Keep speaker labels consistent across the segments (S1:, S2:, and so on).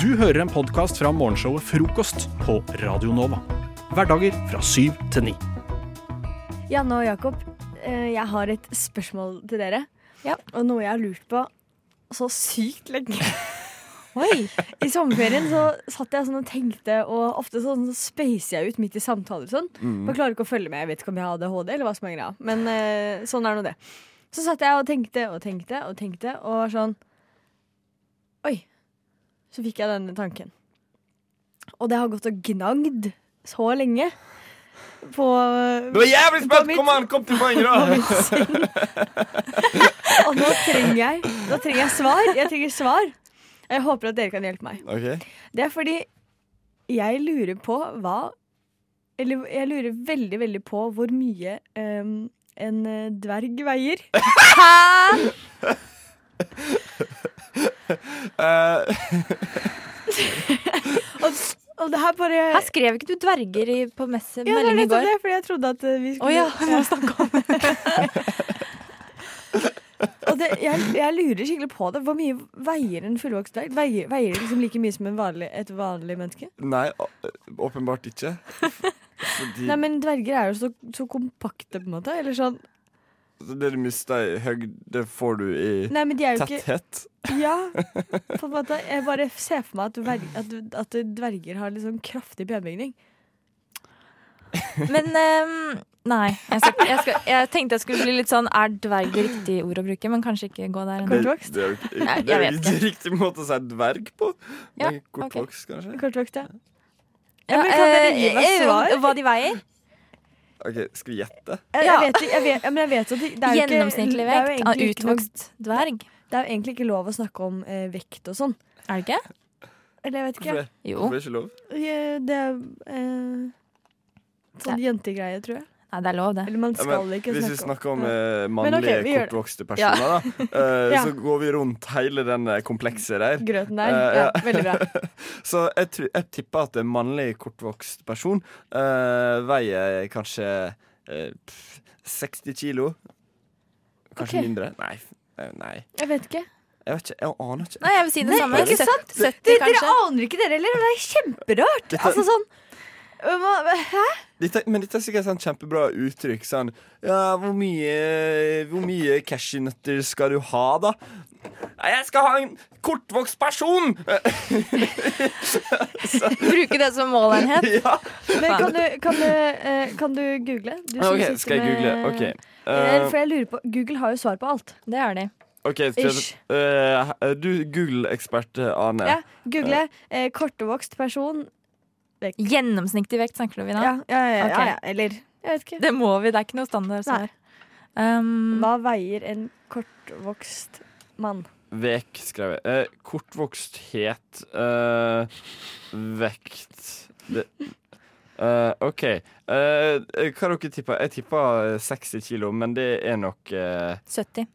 S1: Du hører en podkast fra morgenshowet Frokost på Radio Nova. Hverdager fra syv til ni.
S2: Janne og Jakob, eh, jeg har et spørsmål til dere. Og noe jeg har lurt på så sykt lenge.
S3: Oi.
S2: I sommerferien så satt jeg sånn og tenkte, og ofte sånn så spacer jeg ut midt i samtaler og sånn.
S4: Mhm.
S2: Jeg klarer ikke å følge med. Jeg vet ikke om jeg har ADHD, eller hva som er greia. Men eh, sånn er nå det. Så satt jeg og tenkte og tenkte og tenkte, og var sånn Oi. Så fikk jeg denne tanken. Og det har gått og gnagd så lenge på eh,
S5: Du er jævlig
S2: på
S5: spent!
S2: mitt-
S5: Kom an, kom til poeng,
S2: på mitt
S5: da!
S2: sinn. Og nå trenger jeg Nå trenger jeg svar. Jeg trenger svar. Jeg håper at dere kan hjelpe meg.
S5: Ok.
S2: Det er fordi jeg lurer på hva Eller jeg lurer veldig, veldig på hvor mye em, en eh, dverg veier. Hæ?
S5: Eh,
S2: Og, og det her bare
S3: Her skrev ikke du dverger i, på messe
S2: Ja, det er
S3: melding i
S2: nettopp
S3: går?
S2: det, fordi jeg trodde at eh, vi
S3: Å
S2: skulle
S3: ja, vi må snakke om
S2: Og det, jeg, jeg lurer skikkelig på det. Hvor mye veier en fullvokst dverg? Veier, veier det liksom like mye som en vanlig, et vanlig menneske?
S5: Nei, å- eh, åpenbart ikke. Fordi
S2: Nei, men dverger er jo så, så kompakte, på en måte. Eller sånn
S5: det du mister i høgde, får du i
S2: Nei, men de er jo ikke-
S5: tetthet.
S2: Ja, på en måte. Jeg bare ser for meg at, dverg, at, at dverger har litt sånn kraftig benbygning.
S3: Men ehm, nei. Jeg, skal, jeg, skal, jeg tenkte jeg skulle bli litt sånn Er dverg riktig ord å bruke? Men kanskje ikke gå der
S5: Det,
S3: ennå.
S2: Kortvokst?
S5: det er jo ikke,
S3: Nei, jeg
S5: det er jo
S3: vet
S5: ikke riktig måte å si dverg på.
S3: Ja,
S5: Men Kortvokst, kanskje.
S2: Kortvokst, ja.
S3: Ja,
S2: men kan dere gi
S3: eh,
S2: meg
S3: eh,
S2: svar?
S3: Hva de veier?
S5: Ok, Skal vi gjette?
S2: Jeg,
S3: Ja.
S2: jeg vet, jeg vet, ja, men jeg vet at det, det er jo ikke
S3: Gjennomsnittlig
S2: det er jo
S3: vekt av
S2: egentlig ikke noe-
S3: utvokst dverg?
S2: Det er jo egentlig ikke lov å snakke om eh, vekt og sånn.
S3: Er det ikke?
S2: Eller jeg vet
S5: Hvorfor
S2: ikke.
S5: det?
S3: Jo.
S5: Hvorfor er det ikke lov?
S2: Eh, Det er eh, sånn jentegreie, tror jeg.
S3: Nei, det er lov, det.
S2: Eller man
S5: Ja,
S2: skal
S5: men
S2: ikke
S5: hvis vi
S2: snakke om
S5: snakker om
S2: ja.
S5: eh,
S2: Men ok,
S5: mannlige
S2: vi gjør det.
S5: kortvokste personer, da, eh,
S2: Ja.
S5: så går vi rundt hele den eh, komplekset der.
S2: grøten der.
S5: Eh,
S2: ja.
S5: ja.
S2: Veldig bra.
S5: Så jeg, tru- jeg tipper at en mannlig kortvokst person eh, veier kanskje eh, pff, 60 kilo. Kanskje
S2: Ok.
S5: mindre. Nei. f- eh, Nei.
S2: Jeg vet ikke.
S5: Jeg vet ikke. Jeg aner ikke.
S3: Nei, jeg vil si det samme.
S2: ikke sant?
S3: 70, kanskje.
S2: aner ikke dere heller, og det er kjemperart.
S5: Dette- Altså
S2: sånn
S5: Dette, men dette er sikkert sånn kjempebra uttrykk. Sånn Ja, hvor mye Hvor mye cashewnøtter skal du ha, da? Nei, jeg skal ha en kortvokst person!
S3: Bruke det som målenhet.
S5: ja.
S2: Men kan du, kan, du, eh, kan du google? Du som
S5: Ok,
S2: sitter
S5: skal jeg google?
S2: med-
S5: OK.
S2: Eh,
S5: Eh,
S2: For jeg lurer på Google har jo svar på alt.
S3: Det har de.
S5: ok, så-
S2: ish.
S5: eh, Du Google-ekspert, eh, Arne.
S2: Ja, Google eh, kortvokst person.
S3: Gjennomsnittlig vekt snakker vi om nå.
S2: Ja, ja, ja, ja,
S3: Ok.
S2: ja. Eller jeg vet ikke.
S3: Det må vi. Det er ikke noe standard
S2: Nei.
S3: svar. Um,
S2: Hva veier en kortvokst mann?
S5: Vek, skrev jeg. Eh, kortvoksthet eh, Vekt det, eh, OK. Eh, hva dere tipper? Jeg tipper eh, 60 kilo, men det er nok eh,
S3: 70.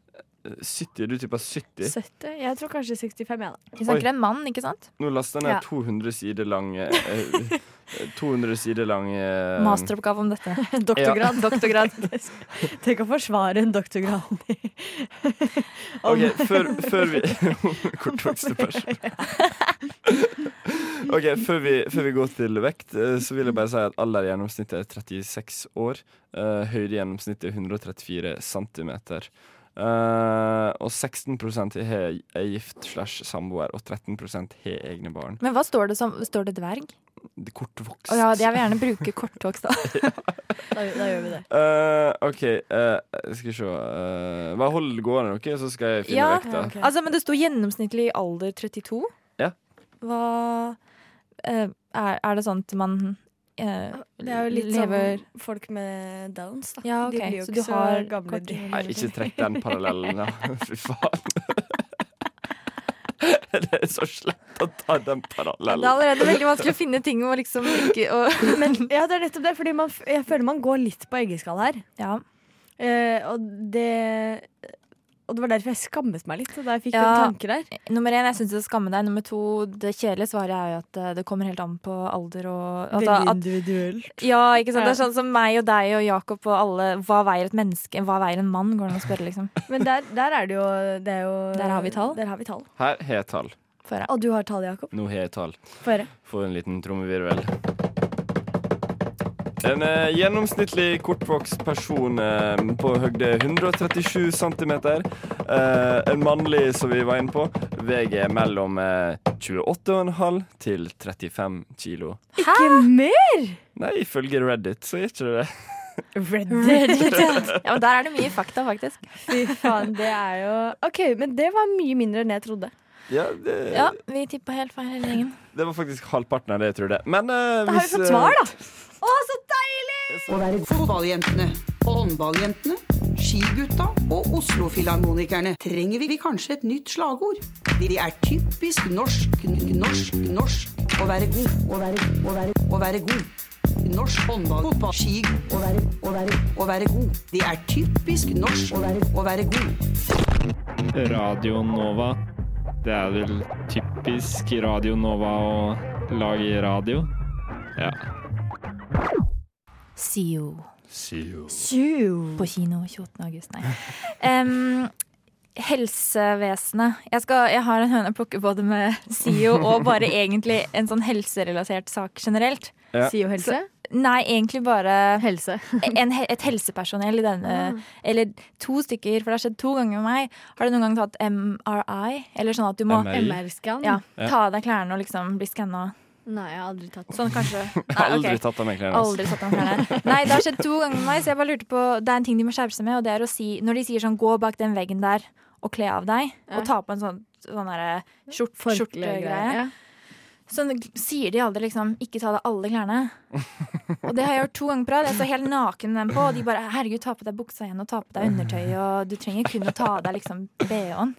S5: 70. Du tipper 70?
S2: 70? Jeg tror kanskje 65, jeg, da.
S3: Vi snakker en mann, ikke sant?
S5: Nå lasta jeg ned
S2: Ja.
S5: 200 sider lang eh, eh, 200 sider lang eh,
S3: Masteroppgave om dette.
S2: Doktorgrad. doktorgrad. Tenk å forsvare en doktorgrad.
S5: OK, før, før vi Kortvokste person. OK, før vi, før vi går til vekt, eh, så vil jeg bare si at alder i gjennomsnitt er 36 år. Eh, høyde i gjennomsnitt er 134 centimeter. Eh, og 16 har er gift slash samboer, og 13 har egne barn.
S3: Men hva står det som? Står det dverg?
S5: Det er Kortvokst.
S3: Å ja, jeg vil gjerne bruke kortvokst. da.
S2: Da, da gjør vi det.
S5: Eh, OK, eh, skal vi se eh, Bare hold gående, dere, så skal jeg finne
S3: Ja,
S5: vekta.
S2: ok.
S3: Altså, men det sto gjennomsnittlig alder 32.
S5: Ja.
S3: Hva eh, er, er det sånn at man eh,
S2: Det er jo litt sånn-
S3: lever
S2: som folk med downs, da.
S3: Ja, ok.
S2: De blir jo
S3: Så
S2: ikke
S3: du
S2: så
S3: har
S2: gamle.
S3: kort-
S2: de-
S5: Nei, ikke trekk den parallellen, da. Fy faen. Det er så slett å ta den
S3: Det er
S5: parallellen.
S3: allerede veldig vanskelig å finne ting og liksom ikke å
S2: Men ja, det er nettopp det, fordi man, f- jeg føler man går litt på eggeskall her.
S3: Ja.
S2: Eh, og det Og det var derfor jeg skammet meg litt da jeg fikk
S3: Ja. Eh,
S2: den tanken der.
S3: Nummer én, jeg syns du skal skamme deg. Nummer to, det kjedelige svaret er jo at eh, det kommer helt an på alder og altså, at,
S2: individuell.
S3: Ja, ikke sant.
S2: Ja.
S3: Det er sånn som meg og deg og Jakob og alle. Hva veier et menneske? Hva veier en mann? Går det an å spørre, liksom.
S2: Men der, der er det jo, det er jo
S3: Der har vi tall.
S2: Der har vi tall.
S5: Her har jeg tall.
S3: Få høre.
S2: Og du har tallet, Jakob.
S5: Nå har jeg tall.
S2: Få høre.
S5: Få en liten trommevirvel. En eh, gjennomsnittlig kortvokst person eh, på høgde 137 cm. Eh, en mannlig, som vi var inne på, veier mellom eh, 28,5 til 35 kilo.
S2: Ikke mer!
S5: Nei, ifølge Reddit så er ikke det det.
S3: ja, men der er det mye fakta, faktisk.
S2: Fy faen, det er jo OK, men det var mye mindre enn jeg trodde.
S5: Ja, det,
S3: Ja, vi tippa helt feil hele gjengen.
S5: det var faktisk halvparten av det jeg trodde. Men eh,
S2: Da har vi
S5: hvis,
S2: fått
S5: eh,
S2: svar, da! Å, så deilig!
S6: Å være fotballjentene, håndballjentene, skigutta og Oslo-filharmonikerne trenger vi kanskje et nytt slagord. De er typisk norsk, n- norsk, norsk. Å være god, å være, å være, å være god. Norsk håndball, fotball, ski, å være, å være, å være god. De er typisk norsk, å være, å være god.
S7: Radio Nova. Det er vel typisk Radio Nova å lage radio. Ja.
S3: Sio
S2: Sju.
S3: på kino 28. august, nei. Em, helsevesenet. Jeg, skal, jeg har en høne å plukke både med SIO og bare egentlig en sånn helserelatert sak generelt.
S5: Ja.
S2: Sio helse?
S3: Nei, egentlig bare
S2: Helse. Ah.
S3: en, he- et helsepersonell i denne Eller to stykker, for det har skjedd to ganger med meg. Har du noen gang tatt MRI? Eller sånn at du må
S5: MRI?
S2: MR-skan?
S3: ja, ta av deg klærne og liksom bli skanna?
S2: Nei, jeg har aldri tatt det.
S3: Sånn kanskje.
S5: Jeg har
S3: Nei, ok.
S5: aldri tatt av meg klærne. altså.
S3: Aldri satt om klærne. Nei, det har skjedd to ganger med meg, så jeg bare lurte på Det er en ting de må skjerpe seg med, og det er å si Når de sier sånn gå bak den veggen der og kle av deg, og ta på en sånn Sånn derre skjort, skjortegreie.
S2: Ja.
S3: Så sier de aldri liksom 'ikke ta av deg alle klærne'. Og det har jeg gjort to ganger på rad. Jeg står helt naken med dem på, og de bare 'herregud, ta på deg buksa igjen, og ta på deg undertøyet', og du trenger kun å ta av deg liksom bh-en.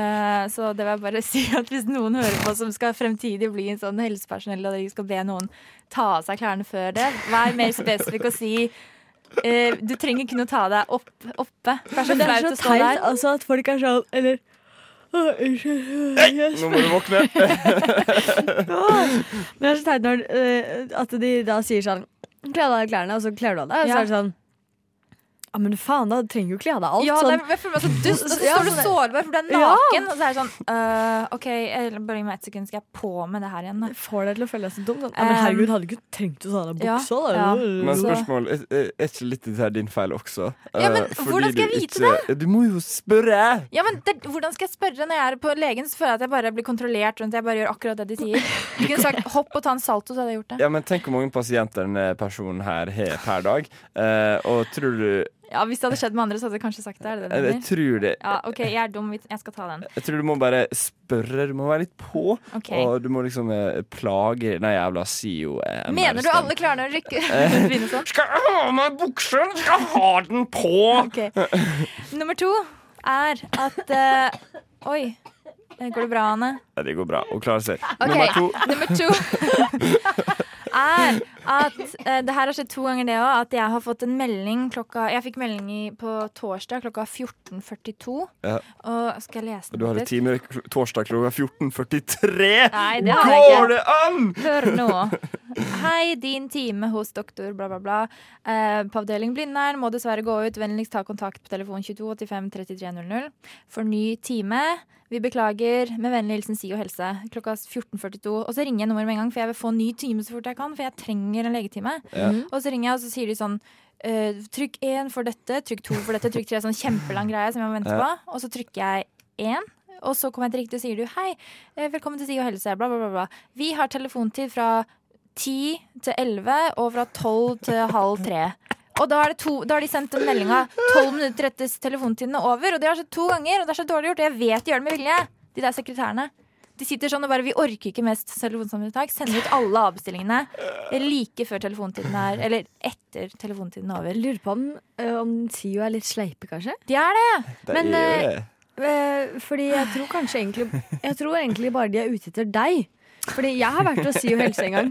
S3: Eh, så det vil jeg bare si at hvis noen hører på som skal fremtidig bli en sånn helsepersonell, og de skal be noen ta av seg klærne før det, vær mer spesifikk og si eh, du trenger kun å ta av deg opp, oppe. Det er så
S2: Men det er
S3: flaut
S2: så
S3: å stå
S2: teit
S3: der.
S2: altså, at folk er sånn Eller «Å, Unnskyld. jeg
S5: Nå må du våkne.
S2: Men det er så teit når eh, at de da sier sånn Kle av deg klærne, og så kler du av deg, og så
S3: Ja.
S2: er det sånn Ja, men faen, da du trenger jo ikke kle av deg alt.
S3: Ja, det
S2: sånn.
S3: er, jeg føler meg så dust. Og så
S2: Ja,
S3: står du
S2: sånn-
S3: sårbar, for du er
S2: Ja.
S3: naken. Og så er det sånn øh, OK, jeg- bare gi meg ett sekund, skal jeg på med det her igjen. Da.
S2: Får deg til å føle deg så dum. sånn. Ja, men herregud, hadde du ikke trengt å ta av deg
S3: Ja,
S2: buksa. da?»
S3: ja.
S5: Men
S3: Så-
S5: spørsmål, er, er er ikke litt det her din feil også?
S3: Ja, men
S5: Eh, fordi
S3: hvordan skal jeg
S5: du
S3: vite
S5: ikke, det? Du må jo spørre!
S3: Ja, men det, Hvordan skal jeg spørre når jeg er på legen? Så føler jeg at jeg bare blir kontrollert rundt. Jeg bare gjør akkurat det de sier. Du kunne sagt hopp og ta en salto, så hadde jeg gjort det.
S5: Ja, men Tenk hvor mange pasienter denne personen her har per dag. Eh, og tror du
S3: Ja, Hvis det hadde skjedd med andre, så hadde jeg kanskje sagt det. Er det det du
S5: Jeg
S3: mener?
S5: tror det
S3: Ja, OK, jeg er dum. vi- Jeg skal ta den.
S5: Jeg tror du må bare spørre. Du må være litt på.
S3: Ok.
S5: Og du må liksom eh, plage Nei, jævla SIO. eh,
S3: Mener du
S5: MR-stand.
S3: alle klarer å rykke begynne sånn?
S5: Skal jeg ha av meg buksen? Skal jeg ha den på?
S3: Ok. Nummer to er at eh, Oi. eh, Går det bra, Anne?
S5: Ja, det går bra. Hun klarer seg.
S3: Ok.
S5: Nummer to.
S3: Nummer to er at eh, det her har skjedd to ganger, det òg. At jeg har fått en melding klokka Jeg fikk melding i, på torsdag klokka 14.42.
S5: Ja.
S3: Og skal jeg lese
S5: Du
S3: den
S5: har
S3: opp
S5: et
S3: litt?
S5: time kl- torsdag klokka 14.43.
S3: Nei, det har jeg ikke.
S5: Går det an?!
S3: Hør nå. Hei, din time hos doktor bla, bla, bla. Eh, på avdeling Blindern må dessverre gå ut. Vennligst ta kontakt på telefon 22 85 33 00 for ny time. Vi beklager. Med vennlig hilsen SIO helse. Klokka 14.42. Og så ringer jeg nummeret med en gang, for jeg vil få ny time så fort jeg kan. For jeg trenger en legetime. Og så ringer jeg, og så sier de sånn eh, Trykk én for dette, trykk to for dette, trykk tre. Sånn kjempelang greie som jeg må vente på. Og så trykker jeg én. Og så kommer jeg til riktig og sier du hei, eh, velkommen til SIO helse, bla, bla, bla, bla. Vi har telefontid fra 10 til 11 og fra 12 til halv tre. Og da, er det to, da har de sendt den meldinga 12 minutter etter telefontiden er over. Og det har skjedd to ganger, og det er så dårlig gjort. Og jeg vet de gjør det med vilje, de der sekretærene. De sitter sånn og bare Vi orker ikke mest telefonsamtaletak. Sender ut alle avbestillingene like før telefontiden er Eller etter telefontiden er over.
S2: Jeg lurer på om,
S3: Mm,
S2: eh, om Sio er litt sleipe, kanskje.
S3: De er det!
S5: Det
S2: Men,
S5: er-
S2: Eh, fordi jeg tror kanskje egentlig Jeg tror egentlig bare de er ute etter deg. Fordi jeg har vært hos SIO helse en gang.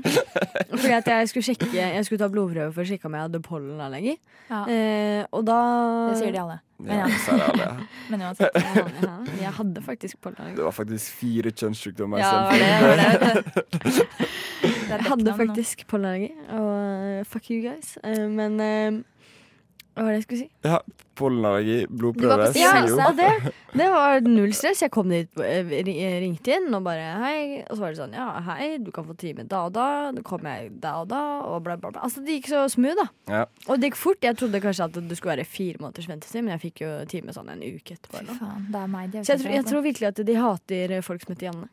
S2: Fordi at jeg skulle sjekke Jeg skulle ta blodprøve for å sjekke om jeg hadde pollenallergi.
S3: Ja.
S2: Eh, og da
S3: Det sier de alle. Men
S5: Ja,
S3: ja.
S5: så er det alle.
S3: Men uansett.
S2: Ja, jeg hadde faktisk pollenallergi.
S5: Det var faktisk fire kjønnssykdommer.
S3: Ja,
S5: selv.
S3: det var det. det, var det. det er
S2: Jeg hadde
S3: Beckman, da.
S2: faktisk pollenallergi, og eh, fuck you guys. Eh, men eh, Hva var det jeg skulle si?
S5: Pollenallergi,
S8: Du var
S5: blodprøve, E
S8: på
S2: Ja,
S3: altså.
S8: Stiv
S5: SIO.
S8: helse.
S2: og det, det var null stress. Jeg kom dit, eh, ri- ringte inn og bare hei. Og så var det sånn ja, hei, du kan få time da og da. Da kommer jeg da og da, og bla, bla, bla. Altså, det gikk så smooth, da.
S5: Ja.
S2: Og det gikk fort. Jeg trodde kanskje at det skulle være fire måneders ventetid, men jeg fikk jo time sånn en uke etterpå.
S8: Fy
S2: eller noe.
S8: faen, det er meg de har
S2: Så jeg,
S8: ikke
S2: tror- jeg
S8: trodd på.
S2: tror virkelig at de hater eh, folk som heter Janne.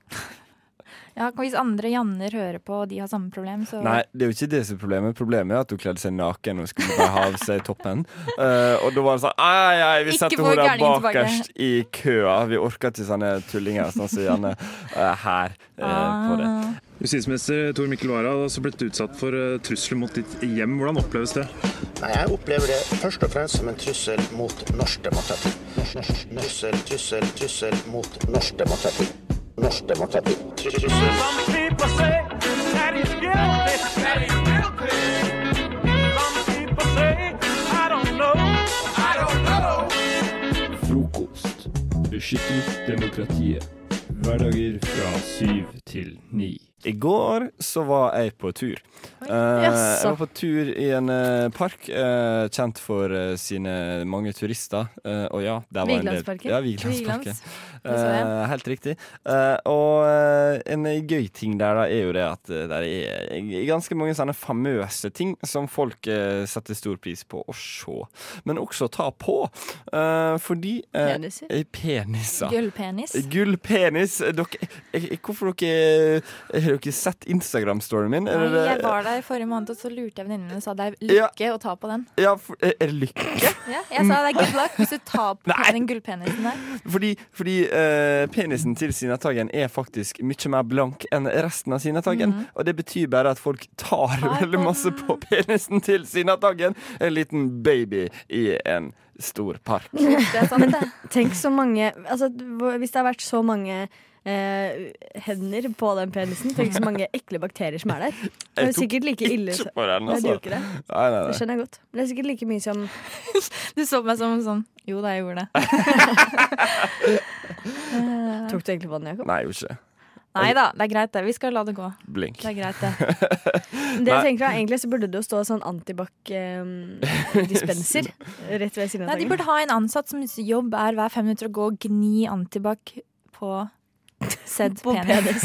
S8: ja, Hvis andre Janner hører på og de har samme problem, så
S5: Nei, det er jo ikke det som er problemet. Problemet er at hun kledde seg naken og skulle bare ha av seg toppen. Eh, og da var det sånn Ei, ei, vi
S8: Ikke
S5: setter
S8: få
S5: henne der
S8: gærningen tilbake.»
S5: bakerst i køa. Vi orker ikke sånne tullinger sånn som Janne eh, her eh, på det.
S8: Ah.
S9: Justisminister Tor Mikkel Wara har også altså blitt utsatt for eh, trusler mot ditt hjem. Hvordan oppleves det?
S10: Nei, Jeg opplever det først og fremst som en trussel mot norsk demokrati. Norsk- norsk- Trussel, trussel, trussel mot norsk demokrati. Norsk demokrati. Trussel.
S11: Frokost. Beskytter demokratiet. Hverdager fra syv til ni.
S5: I går så var jeg på tur. Eh,
S2: jaså.
S5: jeg var på tur i en eh, park eh, kjent for eh, sine mange turister. Eh, og ja, der var en del-
S2: Vigelandsparken.
S5: Ja, Vigelandsparken.
S8: Det så jeg.
S5: Eh, helt riktig. Eh, og eh, en gøy ting der da, er jo det at eh, der er ganske mange sånne famøse ting som folk eh, setter stor pris på å se, men også ta på. Eh, fordi eh,
S2: Peniser?
S5: eh, Peniser.
S8: Gullpenis.
S5: Gullpenis. Eh, Dere, eh, hvorfor dere eh, Har dere sett Instagram-storyen min? Er det
S8: Nei,
S5: det-
S8: Jeg var der forrige måned, og så lurte jeg venninnen min og sa det er lykke å ta på den.
S5: Ja, for, eh, er det lykke?
S8: Ja, jeg sa det er good luck hvis du tar på
S5: Nei.
S8: den gullpenisen der.
S5: Fordi, fordi eh, penisen til Sinataggen er faktisk mye mer blank enn resten av Sinataggen.
S2: Mhm.
S5: Og det betyr bare at folk tar
S8: på
S5: veldig masse på penisen til Sinataggen. En liten baby i en stor park.
S8: Det er sant, det.
S2: Tenk så mange altså, hvor- Hvis det har vært så mange eh, hender på den penisen, tenk så mange ekle bakterier som er der. Det er jo
S5: tok
S2: sikkert like ille som
S5: Ikke på den,
S2: Nei, det er jo
S5: altså.
S2: ikke det.
S5: Nei, nei,
S2: Det
S5: nei.
S2: skjønner jeg godt. Men Det er sikkert like mye som
S8: Du så på meg som sånn Jo da, jeg gjorde det.
S2: Tok du egentlig på den, Jakob?
S5: Nei, jo ikke.
S8: Nei da, det er greit, det. Vi skal la det gå.
S5: Blink.
S8: Det er greit, det.
S2: Det jeg tenker da, Egentlig så burde det jo stå sånn antibac-dispenser rett ved siden av
S8: Nei, De
S2: tanken.
S8: burde ha en ansatt som sin jobb er hver fem minutter å gå og gni antibac på sedd
S2: På
S8: penis.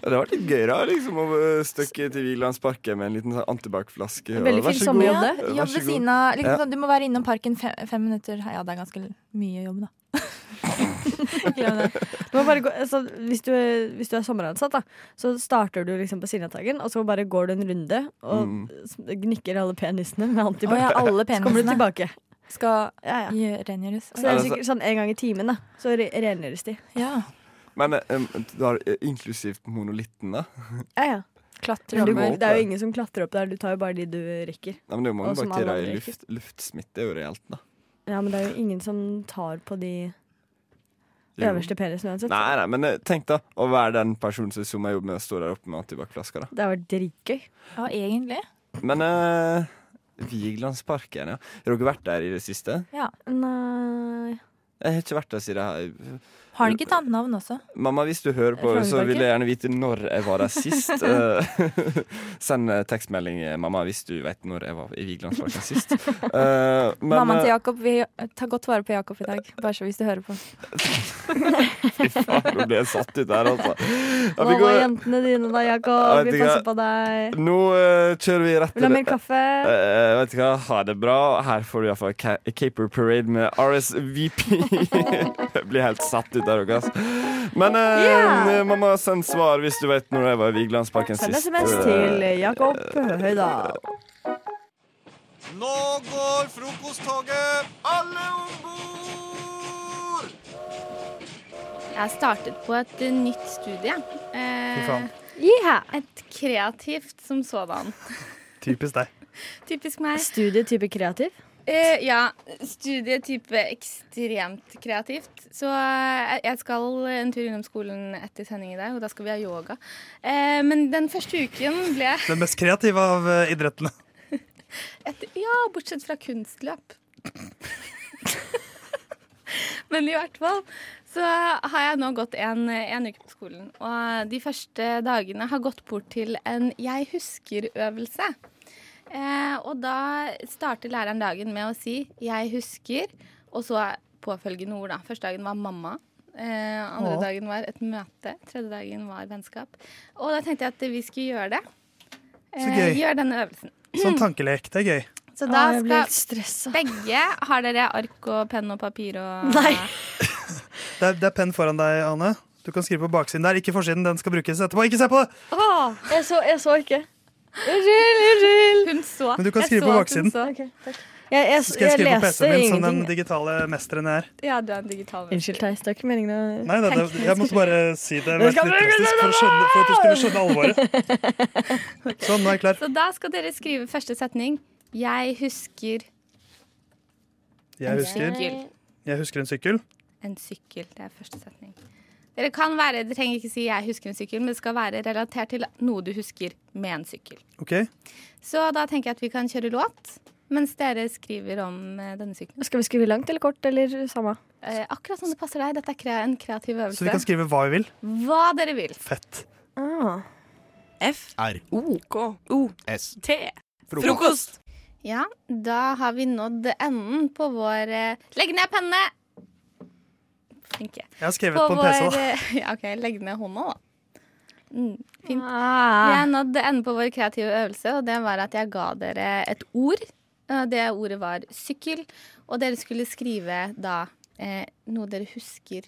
S5: Det var litt gøy, da. Liksom, å eh, støkke til Vigelandsparken med en liten sånn antibac-flaske.
S2: Veldig
S5: og vær
S2: fin
S5: så god.
S2: sommerjobb,
S8: Ja,
S2: det.
S5: Vær
S8: jobb
S5: så
S8: ved
S5: god.
S8: siden av. Liksom,
S5: Ja.
S8: sånn, Du må være innom parken fem, fem minutter. Ja, det er ganske mye jobb, da. Glem det.
S2: Du må bare gå, altså, hvis, du, hvis du er sommeransatt, da, så starter du liksom på Signatagen, og så bare går du en runde og
S5: Mm.
S2: s- gnikker alle penisene med
S8: Å
S2: antibac.
S8: ja, alle
S2: Så kommer du
S8: penisene
S2: tilbake.
S8: skal
S2: Ja, ja.
S8: gjø- rengjøres.
S2: Så det er
S5: Ja, det er
S2: sikkert sånn en gang i timen, da. Så re- rengjøres de.
S8: Ja.
S5: Men eh, em, du har eh, inklusivt monolitten, da.
S2: Ja, ja.
S8: Klatre
S2: Men du,
S8: over.
S5: går-
S2: det er jo ingen som klatrer opp der, du tar jo bare de du rekker.
S5: Nei, men det er jo mange
S2: Og som alle
S5: bakterier i
S2: andre
S5: luft. Luftsmitte er jo reelt, da.
S2: Ja, men det er jo ingen som tar på de
S5: Jo.
S2: øverste penisene uansett.
S5: Nei, nei, men eh, tenk da å være den personen som zoomer jobb med å stå der oppe med antibac-flaska. da.
S2: Det har vært dritgøy.
S8: Ja, egentlig.
S5: Men eh, Vigelandsparken, ja. Har dere vært der i det siste?
S2: Nei
S5: Jeg har ikke vært der siden jeg
S8: Har den ikke et annet navn også?
S5: Mamma, hvis du hører på, så
S2: Frognerparken?
S5: vil jeg gjerne vite når jeg var der sist. Eh, Send eh, tekstmelding, eh, mamma, hvis du vet når jeg var i Vigelandsparken sist. Eh, men,
S8: Mammaen til
S5: eh,
S8: Jakob, vi tar godt vare på Jakob i dag. Bare så hvis du hører på.
S5: Fy faen, nå ble jeg satt ut der, altså. Ja,
S2: Hva
S5: vi
S2: var
S5: går,
S2: jentene dine da,
S5: Jeg
S2: Jakob?
S5: vet
S2: Vi
S5: ikke.
S2: passer på deg.
S5: nå eh, kjører vi rett
S2: Vil du ha mer
S5: det-
S2: kaffe?
S5: Eh, vet du hva, ha det bra. Her får du iallfall Ca Caper Parade med RSVP. jeg blir helt satt ut der òg, ass. Men eh, mamma, send svar hvis du vet når jeg var i Vigelandsparken
S2: Send
S5: sist.
S2: SMS
S5: Eh,
S2: til Jakob Høydal.
S12: Nå går frokosttoget! Alle om bord!
S13: Jeg startet på et eh, nytt studie. Eh, et kreativt som sådan.
S14: Typisk deg.
S13: Typisk meg.
S2: Studietype kreativ.
S13: Eh, ja, studietype ekstremt kreativt. Så eh, jeg skal en tur innom skolen etter sending i dag, og da skal vi ha yoga. Eh, men den første uken ble
S14: Den mest kreative av eh, idrettene.
S13: et, Ja, bortsett fra kunstløp. Men i hvert fall så har jeg nå gått en, en uke på skolen. Og de første dagene har gått bort til en jeg husker-øvelse. Eh, og da starter læreren dagen med å si 'jeg husker', og så påfølgende ord. da. Første dagen var mamma. Eh, andre
S8: Åh.
S13: dagen var et møte. Tredje dagen var vennskap. Og da tenkte jeg at vi skulle gjøre det.
S14: Så gøy.
S13: Gjøre denne øvelsen.
S14: Sånn tankelek. Det er gøy.
S13: Så da
S14: Å, jeg blir
S13: skal begge Har dere ark og penn og papir og
S14: Det er, det er penn foran deg, Anne. Du kan skrive på baksiden der. Ikke forsiden. Den skal brukes etterpå. Ikke se på det!
S2: Ah, jeg, så, jeg så ikke. Unnskyld, unnskyld.
S13: Hun så.
S14: Men du kan Jeg skrive så på at hun baksiden. så.
S2: Ok, takk. jeg, jeg,
S14: Så skal jeg skrive på
S2: leste
S14: PC-en min som den
S2: ingenting.
S14: digitale mesteren jeg er.
S13: Ja, du er en digital
S2: Unnskyld, Theis. Det var ikke meningen å
S14: Nei, nei, det,
S2: Tenk-
S14: jeg måtte bare si det
S2: Jeg
S14: mest
S2: skal bruke
S14: humoristisk for, å skjønne- for at du skulle skjønne alvoret. Sånn, nå er jeg klar.
S13: Så da skal dere skrive første setning. Jeg husker
S14: Jeg husker,
S13: Sykkel.
S14: jeg husker en sykkel.
S13: en sykkel. Det er første setning. Dere kan være, dere trenger ikke si 'jeg husker en sykkel', men det skal være relatert til noe du husker med en sykkel.
S14: OK?
S13: Så da tenker jeg at vi kan kjøre låt, mens dere skriver om eh, denne sykkelen.
S2: Skal vi skrive langt eller kort, eller samme?
S13: Eh, akkurat som det passer deg. Dette er kre en kreativ øvelse.
S14: Så vi kan skrive hva vi vil.
S13: Hva dere vil.
S14: Fett.
S2: Ah.
S15: F-R-O-K-O-S-T.
S13: Frokost. Ja, da har vi nådd enden på vår eh, Legg ned pennene! Flinke.
S14: Jeg har skrevet på en PC, da.
S13: eh, Ja, OK, legg ned hånda, da. Mm, fint. Vi har nådd enden på vår kreative øvelse, og det var at jeg ga dere et ord. Og Det ordet var sykkel, og dere skulle skrive da eh, noe dere husker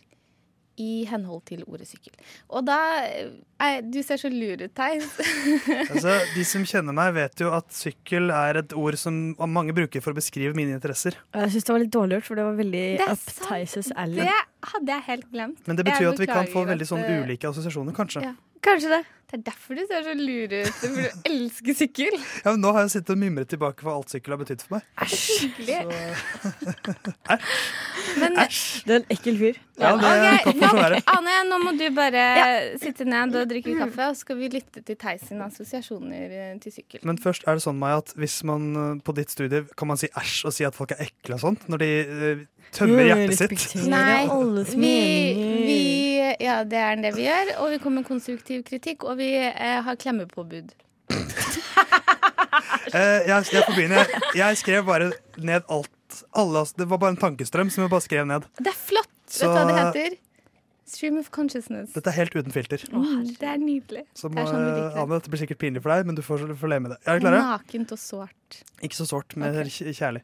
S13: i henhold til ordet sykkel. Og da eh, Du ser så lur ut, Theis.
S14: Altså, de som kjenner meg, vet jo at sykkel er et ord som mange bruker for å beskrive mine interesser.
S2: Jeg syns det var litt dårlig gjort, for det var veldig
S13: Det er
S2: up Theis' alley.
S13: Det hadde jeg helt glemt.
S14: Men det
S13: Jeg
S14: betyr jo at vi kan få
S13: beklager
S14: veldig
S13: at,
S14: sånn
S13: eh,
S14: ulike assosiasjoner, kanskje.
S13: Ja.
S14: Ja.
S2: Kanskje det.
S13: Det er derfor du ser så lur ut. For du elsker sykkel.
S14: men nå har jeg sittet og mimret tilbake hva alt sykkel har betydd for meg.
S13: Skikkelig.
S2: Det er en ekkel fyr.
S14: Ja, det
S13: Ok,
S14: kan få så være.
S13: nok. Anne, nå må du bare sitte ned og drikke kaffe, og så skal vi lytte til Theis sine assosiasjoner eh, til sykkel.
S14: Men først er det sånn, Maja, at hvis man eh, på ditt studie kan man si æsj og si at folk er ekle og sånt, når de eh, tømmer hjertet sitt.
S13: Nei, vi, vi Ja, det er det vi gjør. Og vi kommer med konstruktiv kritikk, og vi eh, har klemmepåbud.
S14: Eh, jeg, jeg får begynne. Jeg, jeg skrev bare ned alt. Alle, ass- det var bare en tankestrøm som jeg bare skrev ned.
S13: Det er flott!
S14: Så-
S13: Vet du hva det heter? Stream of consciousness.
S14: Dette er helt uten filter.
S13: Mm, det er nydelig.
S14: Så
S13: det
S14: må,
S13: er sånn vi liker det.
S14: Anne, dette blir sikkert pinlig for deg, men du får, får leve med det. Er dere klare?
S13: Nakent og sårt.
S14: Ikke så sårt, men kj- kjærlig.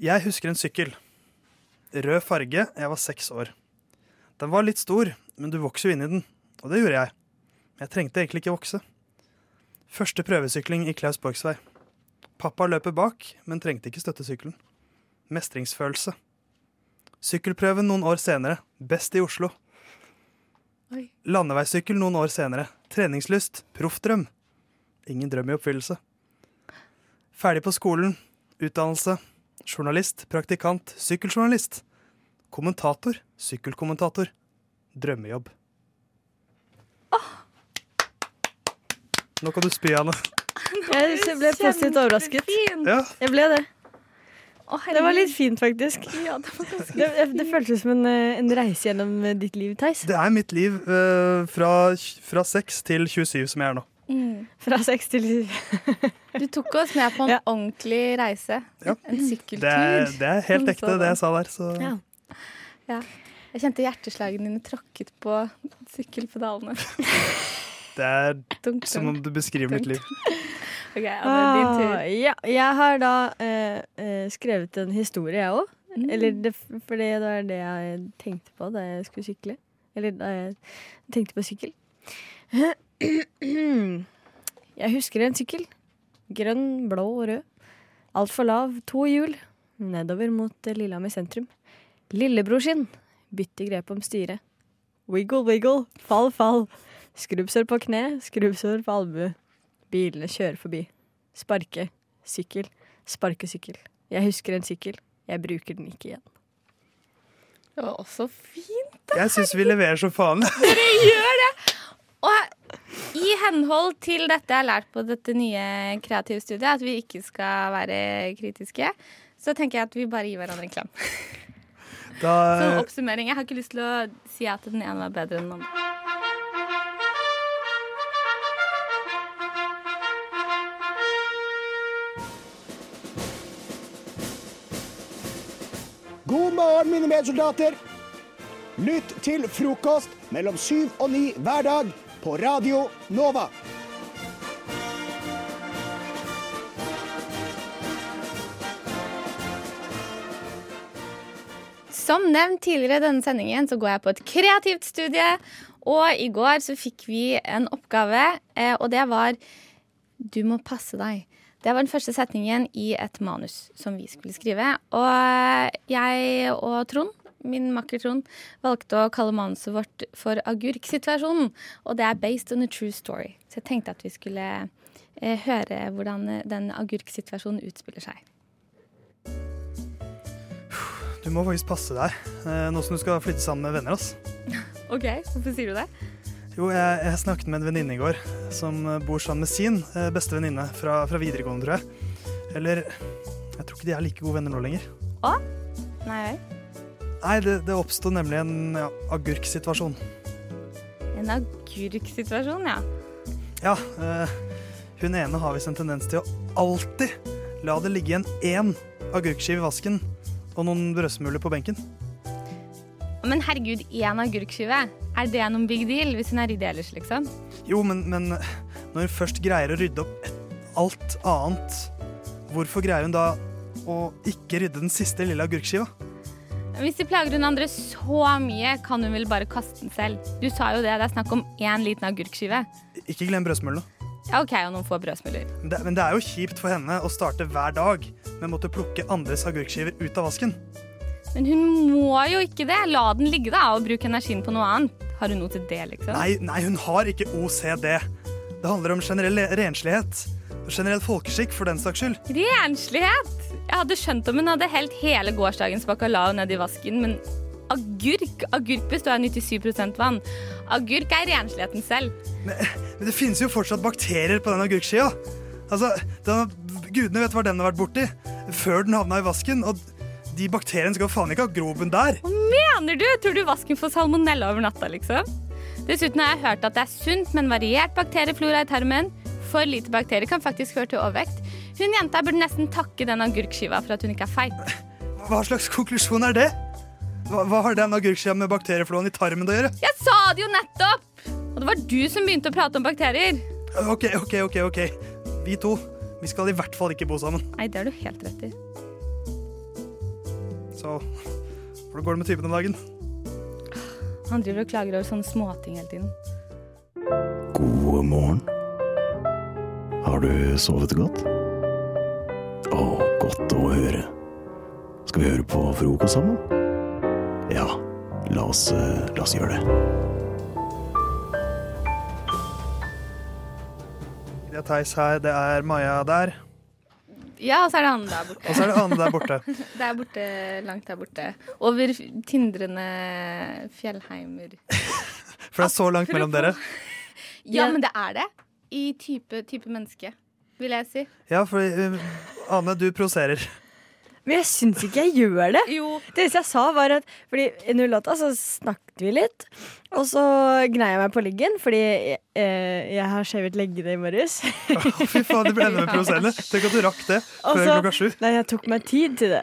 S14: Jeg husker en sykkel. Rød farge, jeg var seks år. Den var litt stor, men du vokser jo inn i den. Og det gjorde jeg. Men jeg trengte egentlig ikke vokse. Første prøvesykling i Klaus Borgs vei. Pappa løper bak, men trengte ikke støttesykkelen. Mestringsfølelse. Sykkelprøven noen år senere. Best i Oslo.
S13: Oi.
S14: Landeveissykkel noen år senere. Treningslyst. Proffdrøm. Ingen drøm i oppfyllelse. Ferdig på skolen. Utdannelse. Journalist. Praktikant. Sykkeljournalist. Kommentator. Sykkelkommentator. Drømmejobb. Nå kan du spy, Anne.
S2: Jeg ble positivt overrasket.
S14: Ja.
S2: Jeg ble det.
S13: herregud.
S2: det var litt fint, faktisk.
S13: Ja, det, var ganske
S2: Det, det føltes som en, eh, en reise gjennom eh, ditt liv, Theis.
S14: Det er mitt liv eh, fra, fra 6 til 27 som jeg er nå.
S2: Fra seks til syv.
S13: Mm. Du tok oss med på en ordentlig reise. En sykkeltur.
S14: Det er, det er helt ekte,
S13: Sådan.
S14: det jeg sa der. Så.
S13: Ja. Ja. Jeg kjente hjerteslagene dine tråkket på sykkelpedalene.
S14: Det er
S13: Dunk,
S14: som om du beskriver mitt liv.
S13: Ok, Anne, din tur.
S2: Ah, ja, jeg har da eh, eh, skrevet en historie, jeg òg.
S13: Mm.
S2: Eller det, for det var det jeg tenkte på da jeg skulle sykle. Eller da jeg tenkte på sykkel. Jeg husker en sykkel. Grønn, blå og rød. Altfor lav, to hjul. Nedover mot eh, Lillehammer sentrum. Lillebror sin. Bytte grep om styret. Wiggle, wiggle. Fall, fall. Skrubbsår på kne, skrubbsår på albue. Bilene kjører forbi. Sparke. Sykkel. Sparke sykkel. Jeg husker en sykkel. Jeg bruker den ikke igjen.
S13: Det var også fint.
S14: Jeg syns vi leverer som faen.
S13: Dere gjør det! Og i henhold til dette jeg har lært på dette nye kreative studiet, at vi ikke skal være kritiske, så tenker jeg at vi bare gir hverandre en klem. Som Sånn
S14: Da, eh,
S13: oppsummering. Jeg har ikke lyst til å si at den ene var bedre enn den andre.
S16: God morgen, mine medsoldater. Lytt til frokost mellom syv og ni hver dag på Radio Nova.
S13: Som nevnt tidligere i denne sendingen, så går jeg på et kreativt studie. Og i går så fikk vi en oppgave, eh, og det var Du må passe deg. Det var den første setningen i et manus som vi skulle skrive. Og eh, jeg og Trond, min makker Trond, valgte å kalle manuset vårt for agurksituasjonen. Og det er based on a true story. Så jeg tenkte at vi skulle eh, høre hvordan eh, den agurksituasjonen utspiller seg.
S14: Du må faktisk passe deg eh, nå som du skal flytte sammen med venner. ass.
S13: OK, hvorfor sier du det?
S14: Jo, jeg, jeg snakket med en venninne i går som eh, bor sammen med sin eh, beste venninne fra, fra videregående, tror jeg. Eller jeg tror ikke de er like gode venner nå lenger.
S13: Å? Nei vel.
S14: Nei, det, det oppsto nemlig en ja, agurksituasjon.
S13: En agurksituasjon, ja.
S14: Ja, eh, hun ene har visst en tendens til å alltid la det ligge igjen én agurkskive i vasken og noen brødsmuler på benken.
S13: Men herregud, én agurkskive? Er det noen big deal hvis hun er ryddig ellers, liksom?
S14: Jo, men, men når hun først greier å rydde opp et- alt annet, hvorfor greier hun da å ikke rydde den siste lille agurkskiva?
S13: Hvis de plager hun andre så mye, kan hun vel bare kaste den selv. Du sa jo det, det er snakk om én liten agurkskive.
S14: Ikke glem brødsmulene.
S13: Ja, OK, og noen få brødsmuler.
S14: Men det, men det er jo kjipt for henne å starte hver dag med å måtte plukke andres agurkskiver ut av vasken.
S13: Men hun må jo ikke det. La den ligge, da, og bruk energien på noe annet. Har hun noe til det, liksom?
S14: Nei, nei, hun har ikke OCD. Det handler om generell renslighet. Og generell folkeskikk, for den saks skyld.
S13: Renslighet! Jeg hadde skjønt om hun hadde helt hele gårsdagens bacalao ned i vasken, men agurk Agurk består av 97 vann. Agurk er rensligheten selv.
S14: Men det finnes jo fortsatt bakterier på den agurkskia. Altså, den, gudene vet hva den har vært borti før den havna i vasken. Og de bakteriene skal jo faen ikke ha grobunn der.
S13: Hva mener du? Tror du vasken får salmonella over natta, liksom? Dessuten har jeg hørt at det er sunt med en variert bakterieflora i tarmen. For lite bakterier kan faktisk føre til overvekt. Hun jenta burde nesten takke den agurkskiva for at hun ikke er feit.
S14: Hva slags konklusjon er det? Hva, hva har den agurkskia med bakteriefloen i tarmen å gjøre?
S13: Jeg sa det jo nettopp! Og det var du som begynte å prate om bakterier.
S14: OK, OK, OK. ok. Vi to vi skal i hvert fall ikke bo sammen.
S13: Nei, det har du helt rett i.
S14: Så hvordan går det med typen om dagen?
S13: Han driver og klager over sånne småting hele tiden.
S17: God morgen. Har du sovet godt? Å, godt å høre. Skal vi høre på frokost sammen? Ja, la oss, eh, la oss gjøre det.
S14: Det er Theis her, det er Maja der,
S13: Ja, og så er det han der borte.
S14: og så er det Ane der borte.
S13: Der borte, langt der borte. Over f- tindrende fjellheimer.
S14: For det er
S2: Ah,
S14: så langt mellom dere.
S13: Ja, men det er det. I type, type menneske, vil jeg si.
S14: Ja, for eh, Ane, du provoserer.
S2: Men jeg syns ikke jeg gjør det.
S13: Jo.
S2: Det eneste jeg sa, var at Fordi i nullåtta så snakket vi litt, og så gnei jeg meg på leggen fordi jeg, eh, jeg har skjevet leggene i morges.
S14: Fy faen, det ble enda mer provoserende. Tenk at du rakk det
S2: Og
S14: før
S2: så-
S14: klokka sju.
S2: Nei, jeg tok meg tid til det.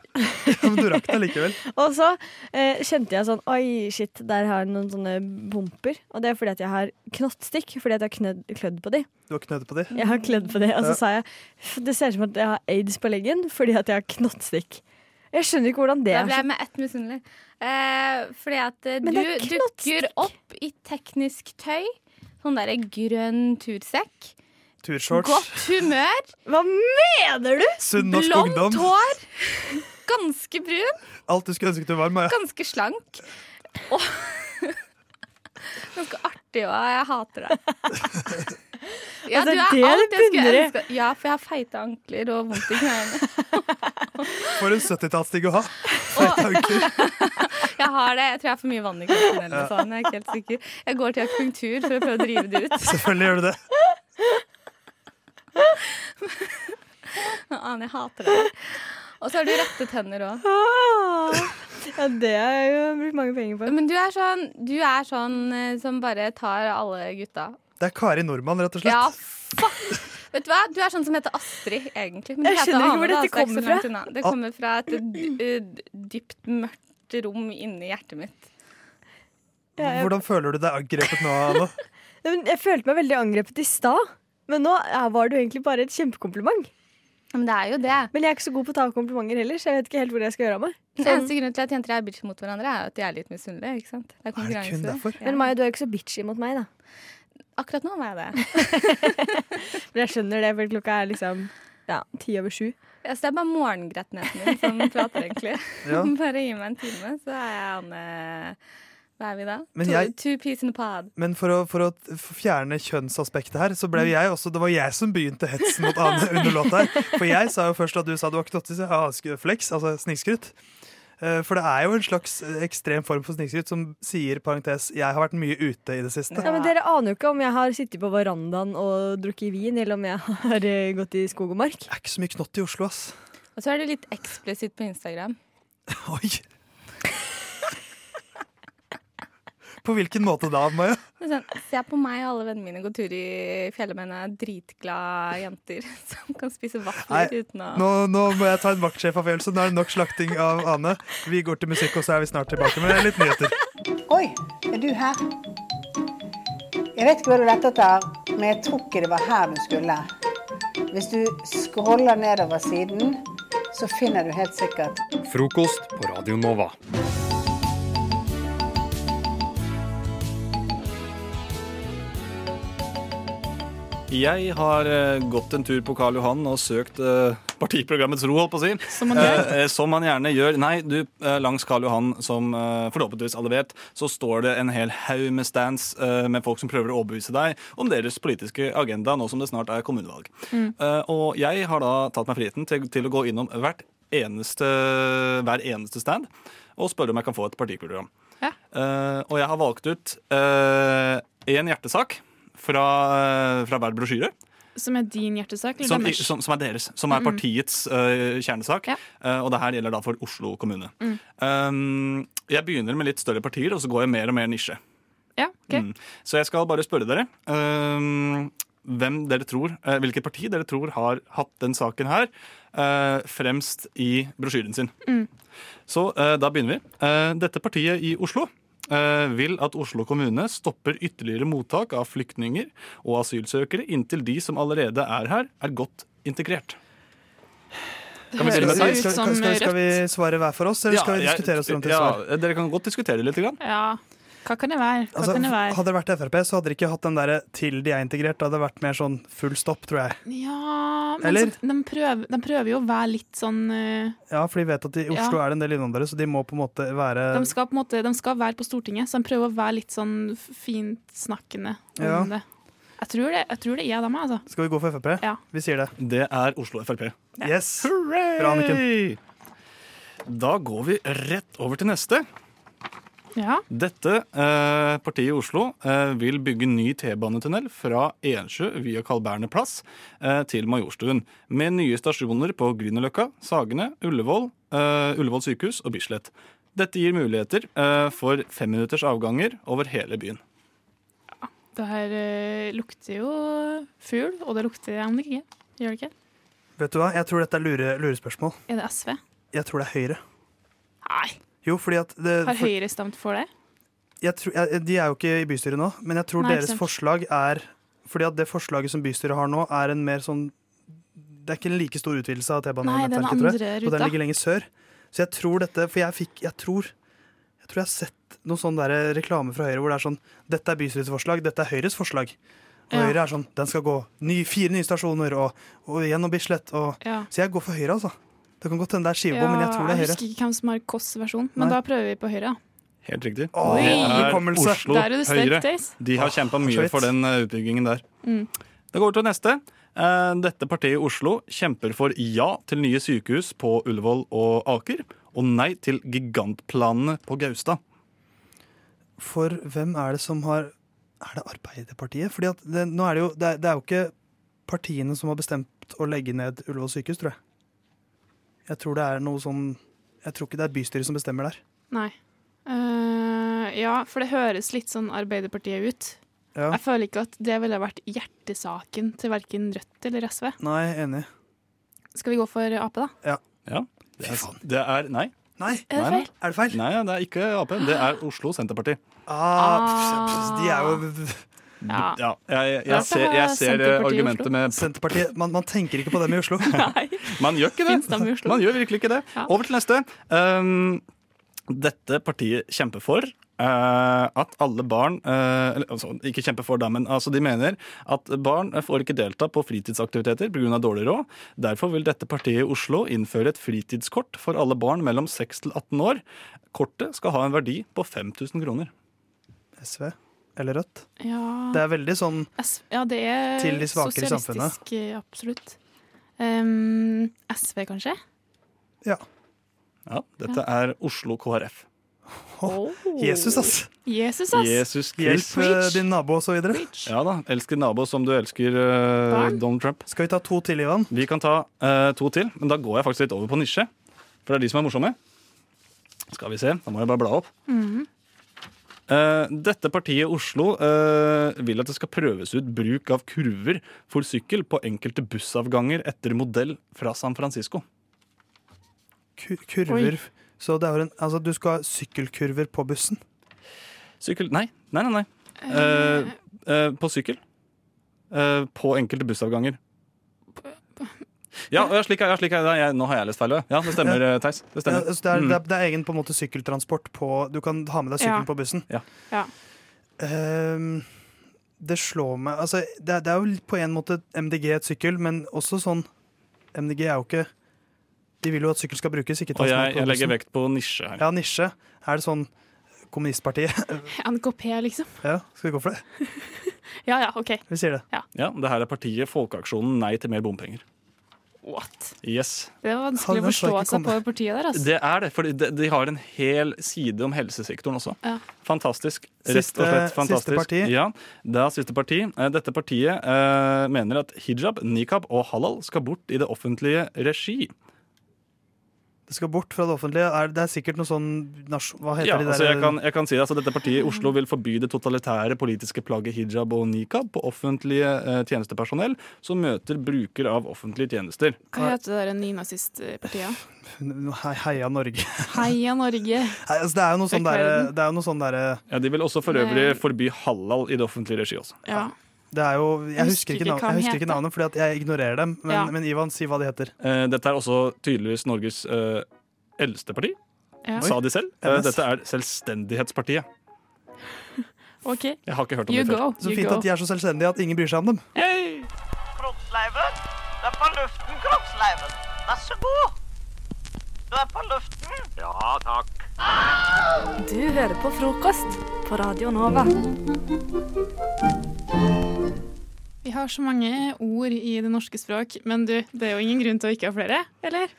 S14: Men du rakk det likevel.
S2: Og så eh, kjente jeg sånn Oi, shit, der har jeg noen sånne bumper. Og det er fordi at jeg har knottstikk. Fordi at jeg har knødd, klødd på de.
S14: Du har knødd på de.
S2: Jeg har klødd på de, Og så
S14: Ja.
S2: sa jeg "F, det ser ut som at jeg har aids på leggen fordi at jeg har knottstikk. Jeg skjønner ikke hvordan det
S13: Da
S2: er.
S13: ble
S2: så-
S13: jeg med ett misunnelig. Eh, fordi at eh,
S2: Men
S13: du
S2: det er
S13: dukker opp i teknisk tøy. Sånn derre grønn tursekk.
S14: Turshorts.
S13: Godt humør.
S2: Hva mener du?
S14: Sunn norsk ungdom.
S13: Blondt hår. Ganske brun.
S14: Alt du skulle ønske du var, Maja.
S13: Ganske slank. Og ganske artig òg. Jeg hater deg. Ja,
S2: Altså,
S13: du er
S2: det er
S13: alt
S2: det
S13: jeg skulle
S2: bunner i.
S13: ønske. Ja, for jeg har feite ankler og vondt i knærne.
S14: For en 70-tallsdigg å ha.
S13: Jeg har det. Jeg tror jeg har for mye vann i kroppen. Eller noe
S14: Ja.
S13: sånt. Jeg er ikke helt sikker. Jeg går til akupunktur for å prøve å drive det ut.
S14: Selvfølgelig gjør du det.
S13: Ane, jeg hater deg. Og så har du rette tenner òg.
S2: Ah, Ja, det har jeg jo brukt mange penger på.
S13: Men du er sånn, du er sånn eh, som bare tar alle gutta.
S14: Det er Kari Nordmann, rett og slett.
S13: Ja, fuck! Vet du hva? Du er sånn som heter Astrid, egentlig.
S2: Jeg
S13: du heter
S2: skjønner ikke hvor
S13: Ane, da,
S2: dette
S13: så det er ikke så
S2: kommer
S13: langt
S2: fra.
S13: unna. Det kommer fra et d- d- dypt, mørkt rom inni hjertet mitt.
S14: Hvordan føler du deg angrepet nå, Anna?
S2: Nei, men Jeg følte meg veldig angrepet i stad, men nå eh, var det jo egentlig bare et kjempekompliment.
S13: Men det er jo det.
S2: Men jeg er ikke så god på å ta komplimenter heller, så jeg vet ikke helt hvor jeg skal gjøre av meg.
S13: Den eneste grunnen til at jenter er bitch mot hverandre, er jo at de er litt misunnelige. ikke sant? Det er konkurranse.
S2: Men Maja, du er ikke så bitchy mot meg, da.
S13: Akkurat nå var jeg det.
S2: Men jeg skjønner det, for klokka er liksom ja, ti over sju.
S13: Altså, det er bare morgengrettenheten min som prater, egentlig.
S14: Ja.
S13: Bare gi meg en time, så er jeg Anne Hva er vi da?
S14: Men
S13: two,
S14: jeg-
S13: two peas in a pod.
S14: Men for å, for å t- f- fjerne kjønnsaspektet her, så
S2: Mm.
S14: ble jo jeg også Det var jeg som begynte hetsen mot Ane under låta her. For jeg sa jo først at du sa du var knottis. Ja, sk- flex, altså snikskryt. Eh, For det er jo en slags eh, ekstrem form for snikskryt som sier parentes 'jeg har vært mye ute i det siste'.
S2: Ja, men Dere aner jo ikke om jeg har sittet på verandaen og drukket vin, eller om jeg har eh, gått i skog og mark.
S14: Det er ikke så mye knott i Oslo, ass.
S13: Og så er du litt eksplisitt på Instagram.
S14: På hvilken måte da, Maja?
S13: Det er Sånn, Se på meg og alle vennene mine gå tur i fjellet med en dritglad jenter som kan spise
S14: Nei,
S13: vafler uten å
S14: nå, nå må jeg ta en vaktsjefavgjørelse. Nå er det nok slakting av Ane. Vi går til musikk, og så er vi snart tilbake med litt nyheter.
S18: Oi, er du her? Jeg vet ikke hva du lette etter, men jeg tror ikke det var her du skulle. Hvis du scroller nedover siden, så finner du helt sikkert
S11: Frokost på Radio Nova.
S19: Jeg har eh, gått en tur på Karl Johan og søkt eh, partiprogrammets ro, holdt på å si.
S20: Som man gjør.
S19: Eh, eh, som man gjerne gjør. Nei, du, eh, langs Karl Johan, som eh, forhåpentligvis alle vet, så står det en hel haug med stands eh, med folk som prøver å overbevise deg om deres politiske agenda nå som det snart er kommunevalg.
S20: Mm.
S19: Eh, og jeg har da tatt meg friheten til, til å gå innom hvert eneste, hver eneste stand og spørre om jeg kan få et partiprogram. Eh, og jeg har valgt ut én hjertesak fra, fra hver brosjyre.
S20: Som er din hjertesak? eller
S19: Som,
S20: deres?
S19: som, som er deres. Som er
S20: Mm.
S19: partiets eh, kjernesak. Eh, og det her gjelder da for Oslo kommune.
S20: Mm.
S19: Um, jeg begynner med litt større partier, og så går jeg mer og mer nisje.
S20: Ja, ok.
S19: Mm. Så jeg skal bare spørre dere um, hvem dere tror, eh, hvilket parti dere tror har hatt den saken her eh, fremst i brosjyren sin.
S20: Mm.
S19: Så eh, da begynner vi. Eh, dette partiet i Oslo eh, vil at Oslo kommune stopper ytterligere mottak av flyktninger og asylsøkere inntil de som allerede er her, er godt integrert. Kan vi begynne med
S14: skal,
S19: deg?
S14: skal, skal, skal, skal vi svare hver for oss, eller skal vi
S19: Ja, jeg-
S14: diskutere oss fram til
S19: ja,
S14: svar?
S19: Dere kan godt diskutere litt. Grann.
S20: Ja. Hva kan det være? Hva
S14: Altså,
S20: kan det være?
S14: hadde det vært Frp, så hadde de ikke hatt den derre 'til de er integrert'. Da hadde det vært mer sånn full stopp, tror jeg.
S20: Ja, men
S14: Eller?
S20: sånn- de, prøver, de prøver jo å være litt sånn eh,
S14: Ja, for de vet at i Oslo
S20: Ja.
S14: er det en del innvandrere, så de må på en måte
S20: de,
S14: være
S20: skal på en måte, de skal være på Stortinget, så de prøver å være litt sånn fintsnakkende om
S14: Ja.
S20: det. Jeg tror det, jeg tror det er dem, altså.
S14: Skal vi gå for Frp?
S20: Ja.
S14: Vi sier det.
S19: Det er Oslo Frp.
S14: Yes.
S19: Bra, Anniken. Da går vi rett over til neste.
S20: Ja.
S19: Dette eh, partiet i Oslo eh, vil bygge ny T-banetunnel fra Ensjø via Carl Berner plass eh, til Majorstuen, med nye stasjoner på Grünerløkka, Sagene, Ullevål, eh, Ullevål sykehus og Bislett. Dette gir muligheter eh, for femminutters avganger over hele byen.
S20: Det her eh, lukter jo fugl, og det lukter MDG. Gjør det ikke?
S14: Vet du hva, jeg tror dette er lure, lurespørsmål.
S20: Er det SV?
S14: Jeg tror det er Høyre.
S20: Nei.
S14: Jo, fordi at det,
S20: Har
S14: for,
S20: Høyre stemt for det?
S14: jeg tror, jeg, De er jo ikke i bystyret nå, men jeg tror
S20: Nei, ikke
S14: deres
S20: sant.
S14: forslag er Fordi at det forslaget som bystyret har nå, er en mer sånn Det er ikke en like stor utvidelse av
S20: Nei, den
S14: T-banenettverket, tror
S20: andre
S14: jeg. Og
S20: ruta.
S14: den ligger lenger sør. Så jeg tror dette For jeg fikk Jeg tror jeg tror jeg har sett noen sånn der reklame fra Høyre hvor det er sånn Dette er bystyrets forslag, dette er Høyres forslag. Og
S20: Ja.
S14: Høyre er sånn Den skal gå ny, fire nye stasjoner og, og gjennom Bislett og
S20: Ja.
S14: Så jeg går for Høyre, altså. Det kan godt hende det er Skivebom, men jeg tror det
S20: jeg
S14: er Høyre.
S20: husker ikke hvem som har Kåss versjon, men
S14: Nei.
S20: da prøver vi på Høyre. da.
S19: Helt riktig.
S14: Oi,
S19: det er
S14: hukommelse.
S19: Oslo
S20: Der er du sterk,
S19: Høyre.
S20: Theis.
S19: De har kjempa
S20: så
S19: mye
S20: vidt.
S19: for den eh, utbyggingen der.
S20: Mm.
S19: Da går vi til neste. Eh, Dette partiet i Oslo kjemper for ja til nye sykehus på Ullevål og Aker, og nei til gigantplanene på Gaustad.
S14: For hvem er det som har Er det Arbeiderpartiet? Fordi at det, nå er det, jo, det, er, det er jo ikke partiene som har bestemt å legge ned Ullevål sykehus, tror jeg. Jeg tror det er noe sånn Jeg tror ikke det er bystyret som bestemmer der.
S20: Nei. Eh, ja, for det høres litt sånn Arbeiderpartiet ut.
S14: Ja.
S20: Jeg føler ikke at det ville vært hjertesaken til verken Rødt eller SV.
S14: Nei, enig.
S20: Skal vi gå for Ap, da?
S14: Ja.
S19: Ja. Det er, det er nei.
S14: Nei.
S20: Er det feil?
S14: Er det feil?
S19: Nei, det er ikke Ap. Det er Oslo Senterparti.
S14: Ah, pff, pff, de er jo
S19: Ja. Ja, jeg- jeg- jeg ser- jeg ser, eh, argumentet med-
S14: Senterpartiet, man, man tenker ikke på dem i Oslo.
S19: Man gjør ikke
S14: Finnes dem i
S19: det.
S14: Oslo?
S19: Man gjør virkelig ikke det. Over til neste. Um, dette partiet kjemper for eh, at alle barn eh, eller, altså, Ikke kjemper for, da, men altså, de mener at barn får ikke delta på fritidsaktiviteter pga. dårlig råd. Derfor vil dette partiet i Oslo innføre et fritidskort for alle barn mellom 6 til 18 år. Kortet skal ha en verdi på 5000 kroner.
S14: SV eller Rødt.
S20: Ja.
S14: Det er veldig sånn
S20: S- ja, det er
S14: Til de svakere i samfunnet.
S20: sosialistisk, eh, Absolutt. Ehm, SV, kanskje?
S19: Ja, dette er Oslo KrF.
S14: Jesus, ass.
S20: Oh. Jesus, ass.
S19: Jesus Christ.
S14: Hjelp eh, din nabo og så videre.
S19: Ja da. Elsker nabo som du elsker eh,
S14: Barn.
S19: Donald Trump.
S14: Skal vi ta to til, Ivan?
S19: Vi kan ta eh, to til, men da går jeg faktisk litt over på nisje. For det er de som er morsomme. Skal vi se. Da må jeg bare bla opp.
S20: Mhm.
S19: Eh, dette partiet i Oslo eh, vil at det skal prøves ut bruk av kurver for sykkel på enkelte bussavganger etter modell fra San Francisco.
S14: Ku- Kurver.
S19: Oi.
S14: Så det er en, altså, du skal ha sykkelkurver på bussen?
S19: Sykkel Nei, nei, nei. nei. Eh, eh, på sykkel. Eh, på enkelte bussavganger. Ja, ja, slik er ja, slik er det. Jeg- Nå har jeg lest feil. ja. Ja, det stemmer, eh, Theis. Det
S14: Ja,
S19: stemmer.
S14: altså, det, er,
S19: Mm.
S14: det, er, det er egen på en måte sykkeltransport på Du kan ha med deg sykkelen
S20: Ja.
S14: på bussen.
S19: Ja.
S20: Ja.
S14: Ehm, det slår meg Altså, det, er- det er jo litt på en måte MDG et sykkel, men også sånn MDG er jo ikke De vil jo at sykkel skal brukes, ikke
S19: Og
S14: tas med
S19: jeg,
S14: på
S19: jeg legger
S14: bussen.
S19: vekt på nisje her.
S14: Ja, nisje. Er det sånn kommunistpartiet?
S20: NKP, liksom.
S14: ja, skal vi gå for det?
S20: Ja ja, OK.
S14: Vi sier det.
S20: Ja.
S19: Ja, det her er partiet Folkeaksjonen Nei til mer bompenger.
S20: What?
S19: Yes.
S20: Det var vanskelig å
S19: Hadde jeg så
S20: forstå
S19: ikke
S20: seg på
S19: kommet.
S20: partiet der, altså.
S19: Det er det, for de, de har en hel side om helsesektoren også.
S20: Ja.
S19: Fantastisk. Rett
S14: Siste-
S19: og slett fantastisk.
S14: siste parti.
S19: Ja, det er siste parti. Eh, Dette partiet eh, mener at hijab, nikab og halal skal bort i det offentlige regi.
S14: Det skal bort fra det offentlige. Er, det er sikkert noe sånn nasj- Hva heter
S19: Ja,
S14: de der eh?
S19: altså jeg, kan, jeg kan si det, altså Dette partiet i Oslo vil forby det totalitære politiske plagget hijab og nikab på offentlige eh, tjenestepersonell som møter bruker av offentlige tjenester.
S20: Hva heter det der nynazistpartiet?
S14: He- Heia Norge.
S20: Heia Norge.
S14: Nei, altså, det er jo noe sånn der,
S20: Beklager.
S14: det er jo noe sånn der
S19: Ja, De vil også for øvrig forby halal i det offentlige regi også.
S20: Ja.
S14: Det er jo, jeg, husker ikke, navn, jeg
S20: hva den
S14: husker ikke
S20: heter.
S14: navnet, fordi at jeg ignorerer dem. Men,
S20: Ja.
S14: men Ivan, si hva de heter.
S19: Eh, Dette er også tydeligvis Norges eh, eldste parti,
S20: Ja.
S19: sa de selv. Eh,
S14: MS. Eh,
S19: Dette er Selvstendighetspartiet.
S20: OK.
S19: Jeg har ikke hørt om
S20: You
S19: det før.
S20: go.
S14: Så fint at de er så selvstendige at ingen bryr seg om dem.
S21: Kroppsleiven. Du er på luften, kroppsleiven. Vær så god. Du er på luften. Ja, takk.
S15: Du hører på frokost på Radio Nova.
S20: Vi har så mange ord i det norske språk, men du, det er jo ingen grunn til å ikke ha flere, eller?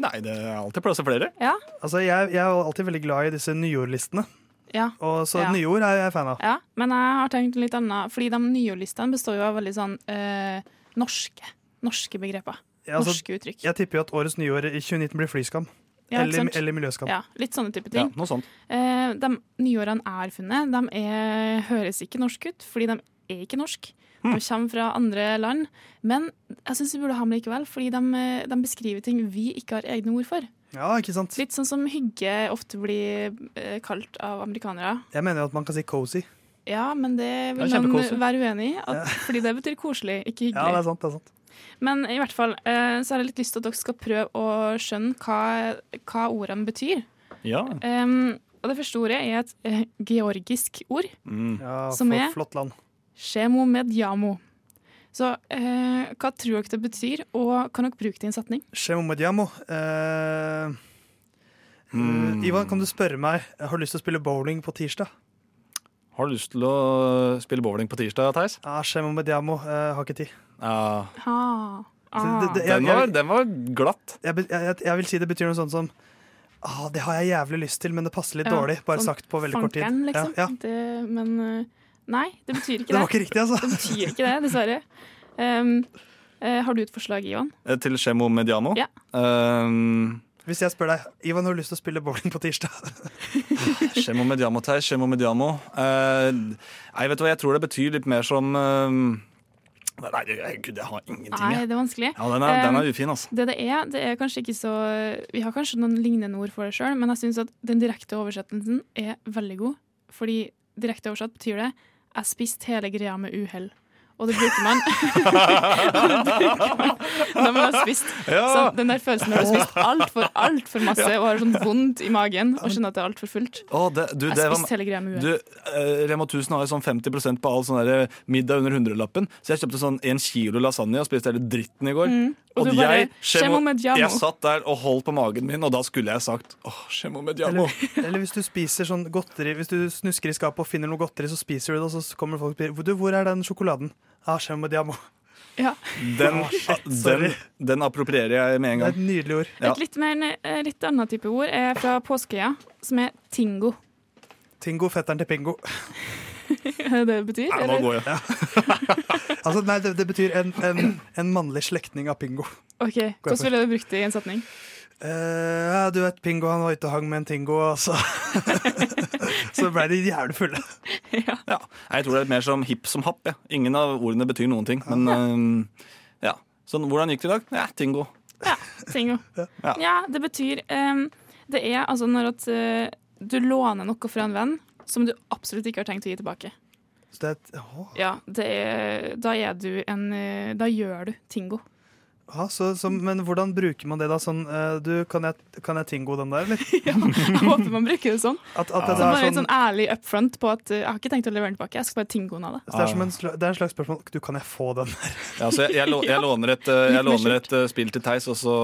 S19: Nei, det er alltid plass til flere.
S20: Ja.
S14: Altså, jeg, jeg er jo alltid veldig glad i disse nyordlistene.
S20: Ja.
S14: Og så
S20: Ja.
S14: nye ord er jeg fan av.
S20: ja. Men jeg har tenkt litt annet, fordi de nyordlistene består jo av veldig sånn eh, norske, norske begreper.
S14: Ja, altså,
S20: norske uttrykk.
S14: Jeg tipper jo at årets nyår i 2019 blir flyskam.
S20: Ja, ikke
S14: eller,
S20: sant?
S14: eller miljøskam.
S20: Ja, litt sånne type ting.
S19: noe sånt.
S20: Eh, de nyårene jeg har funnet, de er, høres ikke norske ut, fordi de er ikke norske.
S14: Hmm.
S20: De kommer fra andre land. Men jeg syns vi burde ha med likevel, fordi de, eh, de beskriver ting vi ikke har egne ord for.
S14: Ja, ikke sant?
S20: Litt sånn som hygge ofte blir eh, kalt av amerikanere.
S14: Jeg mener jo at man kan si cozy.
S20: Ja, men det vil
S14: Det er
S20: noen
S14: kjempekoselig.
S20: være uenig i, at, fordi det betyr koselig, ikke hyggelig.
S14: Ja, det er sant. det er sant.
S20: Men i hvert fall eh, så har jeg litt lyst til at dere skal prøve å skjønne hva, hva ordene betyr.
S19: Ja.
S20: Em, og det første ordet er et eh, georgisk ord.
S19: Mm.
S14: Ja,
S20: Som
S14: for
S20: er-
S14: Flott land.
S20: Shemo medjamo. Så eh, hva tror dere det betyr, og kan dere bruke det i en setning?
S14: Shemomediamo. Eh,
S19: Hmm. Mm.
S14: Ivan, kan du spørre meg Har du lyst til å spille bowling på tirsdag?
S19: Har du lyst til å spille bowling på tirsdag, Theis?
S14: Ja, Shemomediamo. Eh, har ikke tid.
S19: Ja.
S20: Ah.
S14: Så det- det-
S19: Den,
S14: jeg-
S19: var,
S14: jeg-
S19: den var glatt.
S14: Jeg, be- jeg, jeg vil si det betyr noe sånt som ah, Det har jeg jævlig lyst til, men det passer litt
S20: Ja,
S14: dårlig. Bare
S20: sånn
S14: sagt på veldig kort tid.
S20: fankeren, Liksom.
S14: Ja, ja.
S20: Det, men eh, nei, det betyr ikke det.
S14: Det var ikke riktig, altså.
S20: Det betyr ikke det, dessverre. Um, eh, har du et forslag, Ivan?
S19: Eh, Til Skjemo Mediano.
S20: Ja.
S19: Ehm,
S14: Hvis jeg spør deg Ivan har du lyst til å spille bowling på tirsdag.
S19: Skjemo mediamo, Tei. Skjemo mediamo. Eh, nei, vet du hva, jeg tror det betyr litt mer som eh, Nei, jeg- gud, jeg har ingenting.
S20: Nei,
S19: jeg.
S20: det er vanskelig.
S19: Ja, den er, den
S20: Um,
S19: er ufin, altså.
S20: Det det er, det er kanskje ikke så Vi har kanskje noen lignende ord for det sjøl, men jeg syns at den direkte oversettelsen er veldig god. Fordi direkte oversatt betyr det 'jeg spiste hele greia med uhell'. Og det bruker man. Og det bruker man når man har spist.
S19: Ja.
S20: Så den der følelsen når du har spist altfor, altfor masse og har sånn vondt i magen og skjønner at det er altfor fullt.
S19: Å, det, du,
S20: Jeg
S19: det var-
S20: spiste hele greia med
S19: Du,
S20: uhell.
S19: eh, Rema 1000 har jo sånn 50 på all sånn der middag under 100-lappen, så jeg kjøpte sånn en kilo lasagne og spiste hele dritten i går.
S20: Mm, og du bare,
S19: jeg,
S20: «Scemo mediamo».
S19: jeg satt der og holdt på magen min, og da skulle jeg sagt åh, skjemo mediamo.
S14: Eller hvis du spiser sånn godteri Hvis du snusker i skapet og finner noe godteri, så spiser du det, og så kommer folk og sier Du, hvor er den sjokoladen? Ah, skjemme diamo.
S20: Ja.
S19: Den, ah,
S14: Å, shit,
S19: den,
S14: sorry.
S19: den approprierer jeg med en gang.
S14: Det er et nydelig ord.
S19: Ja.
S20: Et litt, mer, eh, litt annet type ord er fra påskeøya, som er tingo.
S14: Tingo, fetteren til pingo.
S20: Er det det det betyr? eller?
S14: Ja. altså, nei, det, det betyr en, en, en mannlig slektning av pingo.
S20: Ok, Hvordan ville du brukt det i en setning?
S14: Eh, ja, du vet, Pingo han var ute og hang med en tingo, og så Så blei de jævlig fulle.
S19: Nei, Jeg tror det er mer som hipp som happ. Ja. Ingen av ordene betyr noen ting. Men øhm, ja. Sånn, hvordan gikk det i dag? Ja, tingo.
S20: Ja, tingo.
S19: Ja.
S20: Ja. det betyr em, Det er altså når at eh, du låner noe fra en venn som du absolutt ikke har tenkt å gi tilbake.
S14: Så det er et, åh,
S20: Ja, det er, da er du en eh, Da gjør du tingo.
S14: ja, så, så, men hvordan bruker man det, da? Sånn, eh, du, kan jeg, kan jeg tingo den der, eller?
S20: Jeg håper man bruker det sånn.
S14: At, at det, er
S20: Så bare litt
S14: sånn,
S20: sånn ærlig upfront på at eh, jeg har ikke tenkt å levere den tilbake. Jeg skal bare tingoen av det.
S14: så det, er som en, sla- det er en slags spørsmål Du, kan jeg få den der?
S19: Ja, så jeg, jeg, lå- jeg låner et, øh, jeg låner et øh, spill til Theis, og så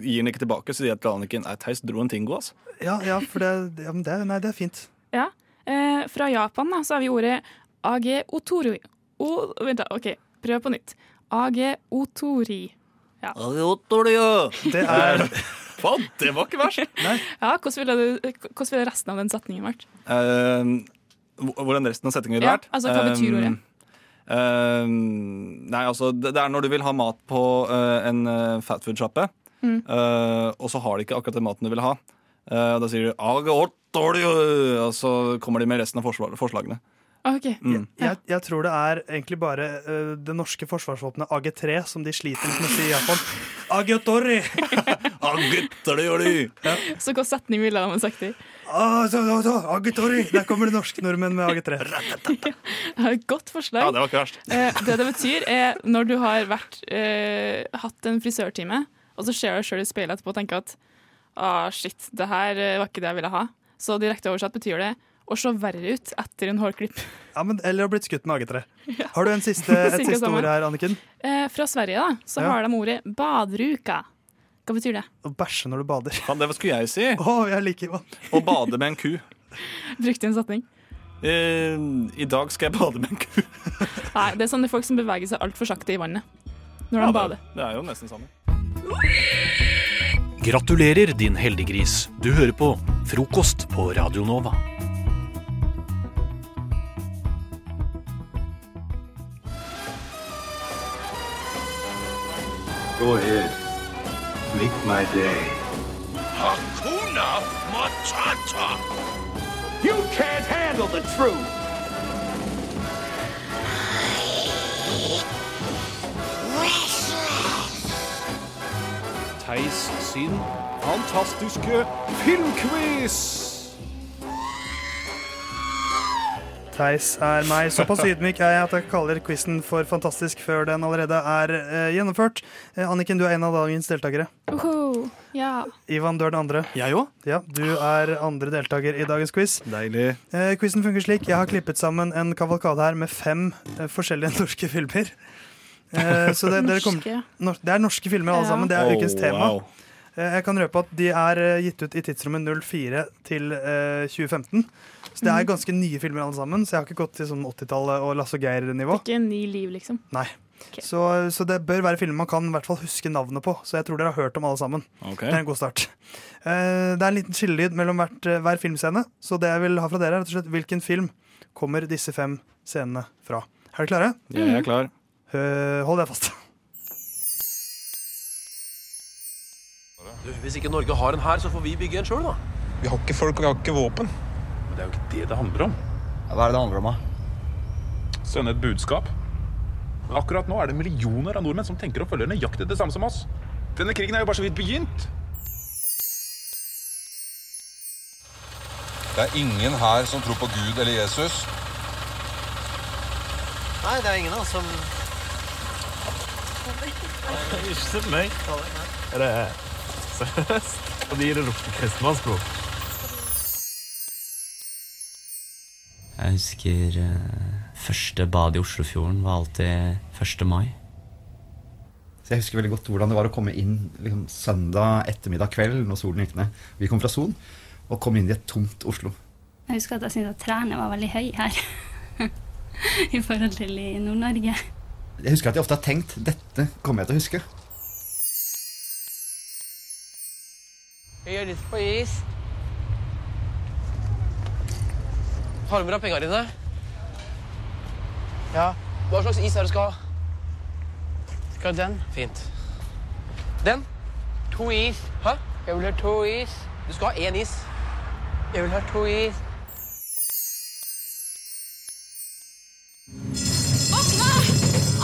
S19: gir han ikke tilbake. Så sier jeg til Anniken nei, Theis dro en tingo. altså.
S14: Ja, ja for det, ja, men det, nei, det er fint.
S20: Ja. Eh, fra Japan da, så har vi ordet AG otori. O, vent da, ok, prøv på nytt. AG otori. Ja.
S19: Det
S14: er
S19: Faen, det var ikke verst!
S20: Ja, hvordan ville, du, eh, hvordan ville resten av den setningen vært?
S19: Ehm, hv- hvordan resten av settingen ville
S20: Ja,
S19: vært?
S20: altså, hva betyr
S19: Ehm,
S20: ordet?
S19: ehm, nei, altså, det, det er når du vil ha mat på eh, en eh, fatfood-sjappe,
S20: Mm.
S19: eh, og så har de ikke akkurat den maten du vil ha. Eh, og da sier du «Age åt dårlig», og så kommer de med resten av forslag, forslagene.
S20: Ok.
S19: Mm.
S14: Jeg, jeg tror det er egentlig bare eh, det norske forsvarsvåpenet AG3 som de sliter litt med å si i Japan. AG-tori!
S19: AG-tori!
S20: Så hvilken setning ville de ha sagt i?
S14: AG-tori! Der kommer de norske nordmenn med AG3.
S20: Godt forslag.
S19: var ikke verst.
S20: Eh, det det betyr, er når du har vært, eh, hatt en frisørtime, og så ser du deg sjøl i speilet etterpå og tenker at ah, shit, det her eh, var ikke det jeg ville ha. Så direkte oversatt betyr det å se verre ut etter en hårklipp.
S14: Ja, men, eller å ha blitt skutt med AG3. Har du en siste, et
S20: Cirka
S14: siste
S20: samme.
S14: ord her, Anniken?
S20: Eh, fra Sverige da, så
S14: Ja.
S20: har de ordet badruka. Hva betyr det?
S14: Å bæsje når du bader.
S19: Faen, det skulle jeg si.
S14: Å, jeg liker vann.
S19: Å bade med en ku.
S20: Brukt i en setning.
S19: Ehm, I dag skal jeg bade med en ku.
S20: Nei, det er sånne folk som beveger seg altfor sakte i vannet når de
S19: Ja,
S20: bader.
S19: det, det er jo nesten samme.
S1: Gratulerer, din heldiggris. Du hører på Frokost på Radio Nova.
S22: Go ahead. Make my day.
S12: Hakuna Matata!
S22: You can't handle the truth!
S1: Theis sin fantastiske filmquiz.
S14: Theis er meg. Såpass ydmyk er jeg at jeg kaller quizen for fantastisk før den allerede er eh, gjennomført. Eh, Anniken, du er en av dagens deltakere.
S20: Uhu, ja.
S14: Ivan, du er den andre.
S19: Jeg òg.
S14: Ja, du er andre deltaker i dagens quiz.
S19: Deilig.
S14: Eh, quizen funker slik. Jeg har klippet sammen en kavalkade her med fem eh, forskjellige norske filmer. Eh, så det, dere kommer,
S20: Norske.
S14: nor det er norske filmer, alle
S20: Ja.
S14: sammen. Det
S19: Oh,
S14: er ukens tema.
S19: wow.
S14: Eh, jeg kan røpe at de er eh, gitt ut i tidsrommet 04 til eh, 2015. Så det
S20: Mhm.
S14: er ganske nye filmer, alle sammen. Så jeg har ikke gått til sånn 80-tallet og Lasse og Geir-nivå.
S20: Ikke en ny liv, liksom.
S14: Nei. Så, så det bør være filmer man kan i hvert fall huske navnet på. Så jeg tror dere har hørt om alle sammen.
S19: Ok.
S14: Det er en god start. Eh, det er en liten skillelyd mellom hvert, eh, hver filmscene. Så det jeg vil ha fra dere, er rett og slett hvilken film kommer disse fem scenene fra. Er dere klare?
S19: Jeg er klar.
S14: Eh, hold deg fast.
S1: Du, hvis ikke Norge har en hær, så får vi bygge en sjøl, da.
S23: Vi har ikke folk, og vi har ikke våpen.
S1: Men det er jo ikke det det handler om.
S23: Hva er det det handler om, da? Sende et budskap. Akkurat nå er det millioner av nordmenn som tenker å følge nøyaktig det samme som oss. Denne krigen er jo bare så vidt begynt.
S24: Det er ingen her som tror på Gud eller Jesus.
S25: Nei, det er ingen av oss som
S26: Ikke meg. Er det seriøst? Og de lukter kristenmannsblod.
S27: Jeg husker eh, første bad i Oslofjorden var alltid 1. mai.
S28: Så jeg husker veldig godt hvordan det var å komme inn liksom, søndag ettermiddag kveld når solen gikk ned. Vi kom fra Son og kom inn i et tomt Oslo.
S29: Jeg husker at jeg syntes at trærne var veldig høye her i forhold til i Nord-Norge.
S28: Jeg husker at jeg ofte har tenkt dette kommer jeg til å huske.
S30: Jeg har lyst på is. Har du med deg pengene dine? Ja. Hva slags is er det du skal ha? Skal ha den. Fint. Den? To is. Hæ? Jeg vil ha to is. Du skal ha én is. Jeg vil ha to is.
S31: Våkne!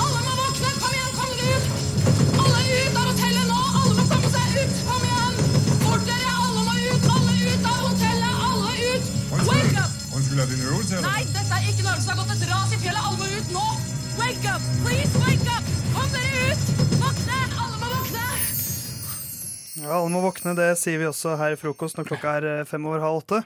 S31: Alle må våkne! Kom igjen, kom dere ut! Alle ut av hotellet nå! Alle må komme seg ut! Kom igjen! Fort dere! Alle må ut! Alle ut av hotellet! Alle ut! Wake up!
S24: Han skulle ha din øvelse,
S31: Nei, dette er ikke Norge som har gått et ras i fjellet! Alle må ut nå! Wake up! Please, wake up! Kom dere ut! Våkne! Alle må våkne!
S14: Ja, alle må våkne, det sier vi også her i frokost når klokka er eh, fem over halv åtte.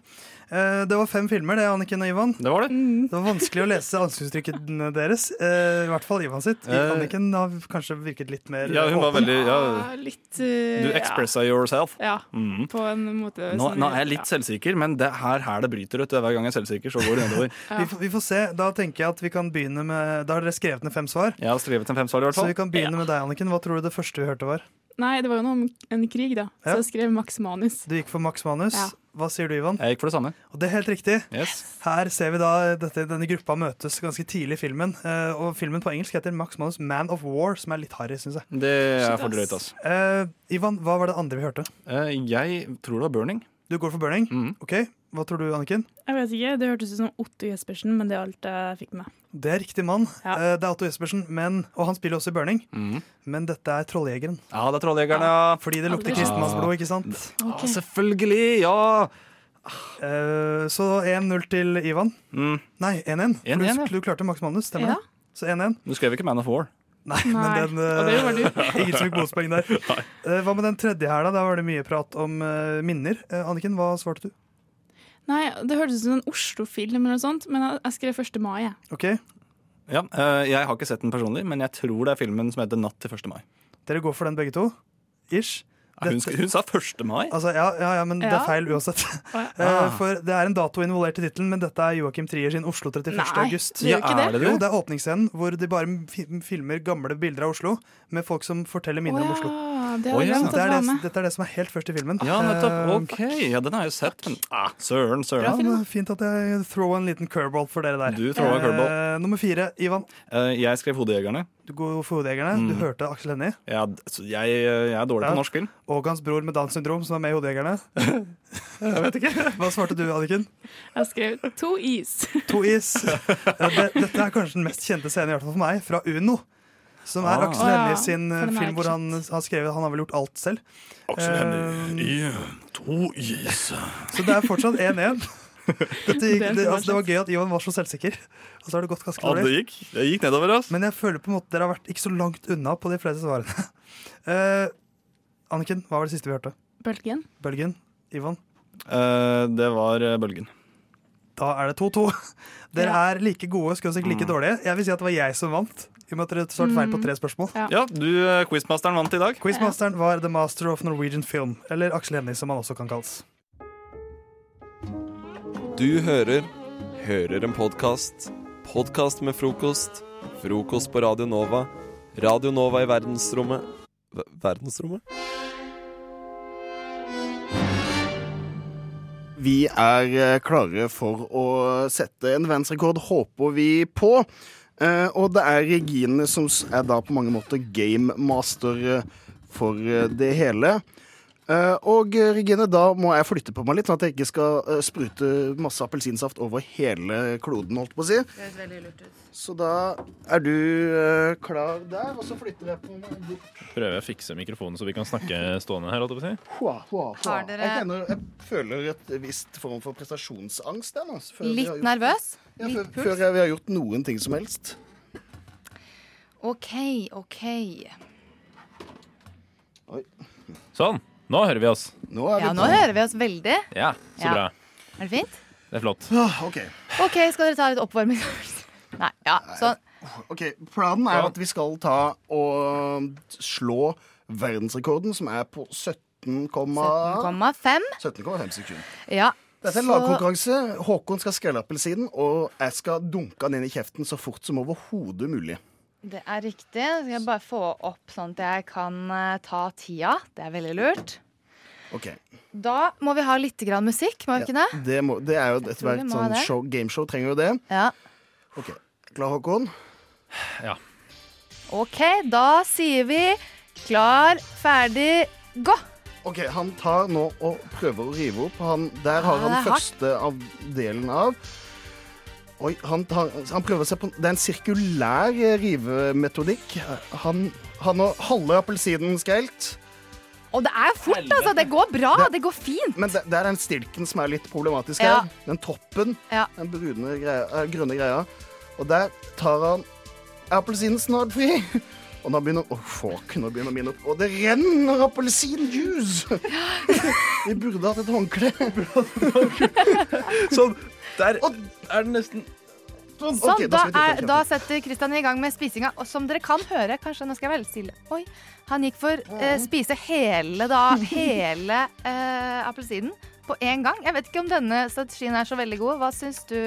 S14: Eh, Det var fem filmer, det, Anniken og Ivan.
S19: Det var det.
S14: Det var vanskelig å lese ansiktsuttrykket deres. eh, I hvert fall Ivan sitt.
S19: Eh.
S14: Anniken har kanskje virket litt mer
S19: Ja, hun var
S14: åpen.
S19: veldig ja.
S20: Litt eh,
S19: Du expressa yourself.
S20: Ja.
S19: Mhm.
S20: På en måte.
S19: Nå,
S20: som-
S19: nå er jeg litt selvsikker, men det er her her det bryter ut. Det er Hver gang jeg er selvsikker, så går det nedover.
S14: Vi, får, vi får se. Da tenker jeg at vi kan begynne med Da har dere skrevet ned fem svar.
S19: Jeg har sånn? skrevet en femsvar i hvert
S14: Så
S19: fall.
S14: vi kan begynne med deg, Anniken. Hva tror du det første vi hørte var?
S20: Nei, det var jo noe om en krig, da.
S14: Ja.
S20: Så jeg skrev Max Manus.
S14: Du gikk for Max Manus.
S20: Ja.
S14: Hva sier du, Ivan?
S19: Jeg gikk for det samme.
S14: Og det er helt riktig.
S19: Yes.
S14: Her ser vi da dette, denne gruppa møtes ganske tidlig i filmen. eh, Og filmen på engelsk heter Max Manus Man of War, som er litt harry, syns jeg.
S19: Det er for drøyt, ass.
S14: Eh, Ivan, hva var det andre vi hørte?
S19: Eh, Jeg tror det var burning. Mm.
S14: Du går for burning? Ok, Hva tror du, Anniken?
S20: Jeg vet ikke, Det hørtes ut som Otto Jespersen, men det er alt jeg fikk med meg.
S14: Det er riktig mann. Eh, Det er Otto Jespersen, men, og han spiller også i burning.
S19: Mm.
S14: Men dette er Trolljegeren.
S19: Ja, det er trolljegerne, ja.
S14: Fordi det lukter
S19: Ja.
S14: kristenmannsblod, ikke sant?
S19: Ok. Ja, ah, selvfølgelig! Ja!
S14: Eh, så 1-0 til Ivan. Nei, 1-1.
S19: 1-1,
S14: For
S19: Mm. ja.
S14: Du, du klarte Max Manus, stemmer
S19: Ja.
S14: det? Så 1-1.
S19: Du skrev ikke Man of War.
S14: Nei, men den
S19: Og det gjorde
S14: eh,
S19: du.
S14: Ingen som fikk bonuspoeng der. Eh, hva med den tredje her, da? Der var det mye prat om eh, minner. Eh, Anniken, hva svarte du?
S20: Nei, Det hørtes ut som en Oslo-film, eller noe sånt, men jeg- jeg skrev 1. mai. jeg.
S14: Ok,
S19: Ja, eh, jeg har ikke sett den personlig, men jeg tror det er filmen som heter Natt til 1. mai.
S14: Dere går for den begge to? Ish.
S19: Ja, hun,
S14: Dette-
S19: sk- hun sa 1. mai?
S14: Altså, ja, ja, ja, men det
S19: Ja.
S14: er feil uansett.
S19: ja.
S14: Eh,
S19: Ah.
S14: For det er en dato involvert i tittelen, men dette er Joakim Trier sin Oslo 31.
S19: Nei,
S14: august.
S19: det er jo ikke Ja, er det. det det?
S14: Jo, det er åpningsscenen hvor de bare fi- filmer gamle bilder av Oslo med folk som forteller minner om
S19: det
S14: Oslo.
S19: sånn hadde Å, jeg ja. glemt å
S14: Så det
S19: ta
S14: er det,
S19: med.
S14: dette er det som er helt først i filmen.
S19: Ja, nettopp.
S14: Eh,
S19: OK. Ja, den har jeg jo sett, men ah, søren,
S14: ja,
S19: søren.
S14: men fint at jeg throw en liten curveball for dere der.
S19: Du throwa en curveball.
S14: Eh, nummer fire, Ivan.
S19: Eh, Jeg skrev Hodejegerne.
S14: Du går for Hodejegerne. Du
S19: Mm.
S14: hørte Aksel Hennie.
S19: Ja, d- så jeg, jeg er dårlig
S14: Ja.
S19: på norsk film.
S14: Og hans bror med Downs syndrom, som er med i Hodejegerne. jeg vet ikke. Hva svarte du, Anniken?
S20: Jeg skrev to is.
S14: To is. Ja, det, dette er kanskje den mest kjente scenen i hvert fall for meg, fra Uno. Som er
S19: Ah.
S14: Aksel Hennie
S19: Ah,
S14: sin
S19: for
S14: eh,
S19: den har jeg
S14: film hvor
S19: ikke
S14: han har skrevet Han har vel gjort alt selv.
S19: Aksel
S14: Eh,
S19: Hennie i to is.
S14: så det er fortsatt 1-1. Dette
S19: Det
S14: gikk-
S19: er
S14: Det,
S19: så
S14: altså, det var gøy at Ivan var så selvsikker. Og så har det gått ganske
S19: Ja, det
S14: dårlig.
S19: gikk. Det gikk nedover, ass.
S14: Men jeg føler på en måte dere har vært ikke så langt unna på de fleste svarene. Eh, Anniken, hva var det siste vi hørte?
S20: Bølgen.
S14: Bølgen? Ivan?
S19: Eh, Det var eh, Bølgen.
S14: Da er det 2-2. Dere
S19: Ja.
S14: er like gode, skulle jeg si
S9: Mm.
S14: like dårlige. Jeg vil si at det var jeg som vant, i og med at dere svarte feil på tre spørsmål.
S19: Ja, du, eh, quizmasteren vant i dag.
S14: Quizmasteren var The Master of Norwegian Film, eller Aksel Hennie, som han også kan kalles.
S32: Du hører Hører en podkast. Podkast med frokost. Frokost på Radio Nova. Radio Nova i verdensrommet Ver- Verdensrommet?
S33: Vi er eh, klare for å sette en verdensrekord, håper vi på. Eh, og det er Regine som s- er da på mange måter gamemaster eh, for eh, det hele. Eh, Og eh, Regine, da må jeg flytte på meg litt, sånn at jeg ikke skal eh, sprute masse appelsinsaft over hele kloden, holdt på å si.
S31: høres veldig lurt ut.
S33: Så da er du eh, klar der, og så flytter jeg på meg bort.
S8: Prøver jeg å fikse mikrofonen så vi kan snakke stående her? holdt jeg på å si.
S33: Hua, hua, hua.
S31: Har dere-
S33: Jeg, kjenner, jeg føler et visst form for prestasjonsangst. Der, nå, før vi har
S31: Litt
S33: gjort-
S31: nervøs?
S33: Ja,
S31: Litt
S33: før,
S31: puls?
S33: før jeg, vi har gjort noen ting som helst.
S31: OK, OK.
S8: Sånn. Nå hører vi oss.
S31: Ja, nå hører vi oss veldig.
S8: Ja, så
S31: Ja.
S8: bra.
S31: Er det fint?
S8: Det er flott.
S31: OK, skal dere ta litt oppvarming? Nei. Ja, sånn.
S33: Ok, Planen er at vi skal ta og slå verdensrekorden, som er på 17,5
S31: 17,5.
S33: 17,5 sekunder.
S31: Ja.
S33: Dette er en
S31: så-
S33: lagkonkurranse. Håkon skal skrelle appelsinen, og jeg skal dunke den inn i kjeften så fort som overhodet mulig.
S31: Det er riktig. Så skal jeg bare få opp sånn at jeg kan eh, ta tida. Det er veldig lurt.
S33: Ok,
S31: Da må vi ha litt grann musikk, må vi ikke det?
S33: Det, må, det er jo et
S31: tror vi
S33: hvert
S31: må ha
S33: sånn
S31: det.
S33: show, gameshow trenger jo det.
S31: Ja.
S33: Ok, Klar, Håkon?
S31: OK, da sier vi klar, ferdig, gå!
S33: Ok, Han tar nå og prøver å rive opp. Han, der har
S31: Ah,
S33: han
S31: det er hardt.
S33: første av delen av. Oi, han, tar, han prøver seg på Det er en sirkulær eh, rivemetodikk. Han har nå halve appelsinen skrelt.
S31: Og det er jo fort, altså. Det går bra. Det, går fint.
S33: Men det, det er den stilken som er litt problematisk
S31: Ja.
S33: her. Den toppen.
S31: Ja.
S33: Den brune greia, eh, grønne greia. Og der tar han appelsinen snart fri. Og nå begynner, oh, fuck, nå begynner min opp. Og det renner appelsinjuice! Vi burde hatt et håndkle. sånn. Der er den nesten Sånn,
S31: Sånn,
S33: ok, skal vi
S31: da,
S33: titte
S31: er,
S33: på
S31: da
S33: kjeften.
S31: setter Kristian i gang med spisinga. Og som dere kan høre, kanskje nå skal jeg være litt stille. Oi, han gikk for eh, spise hele, da, hele eh, appelsinen på én gang. Jeg vet ikke om denne strategien er så veldig god. Hva syns du,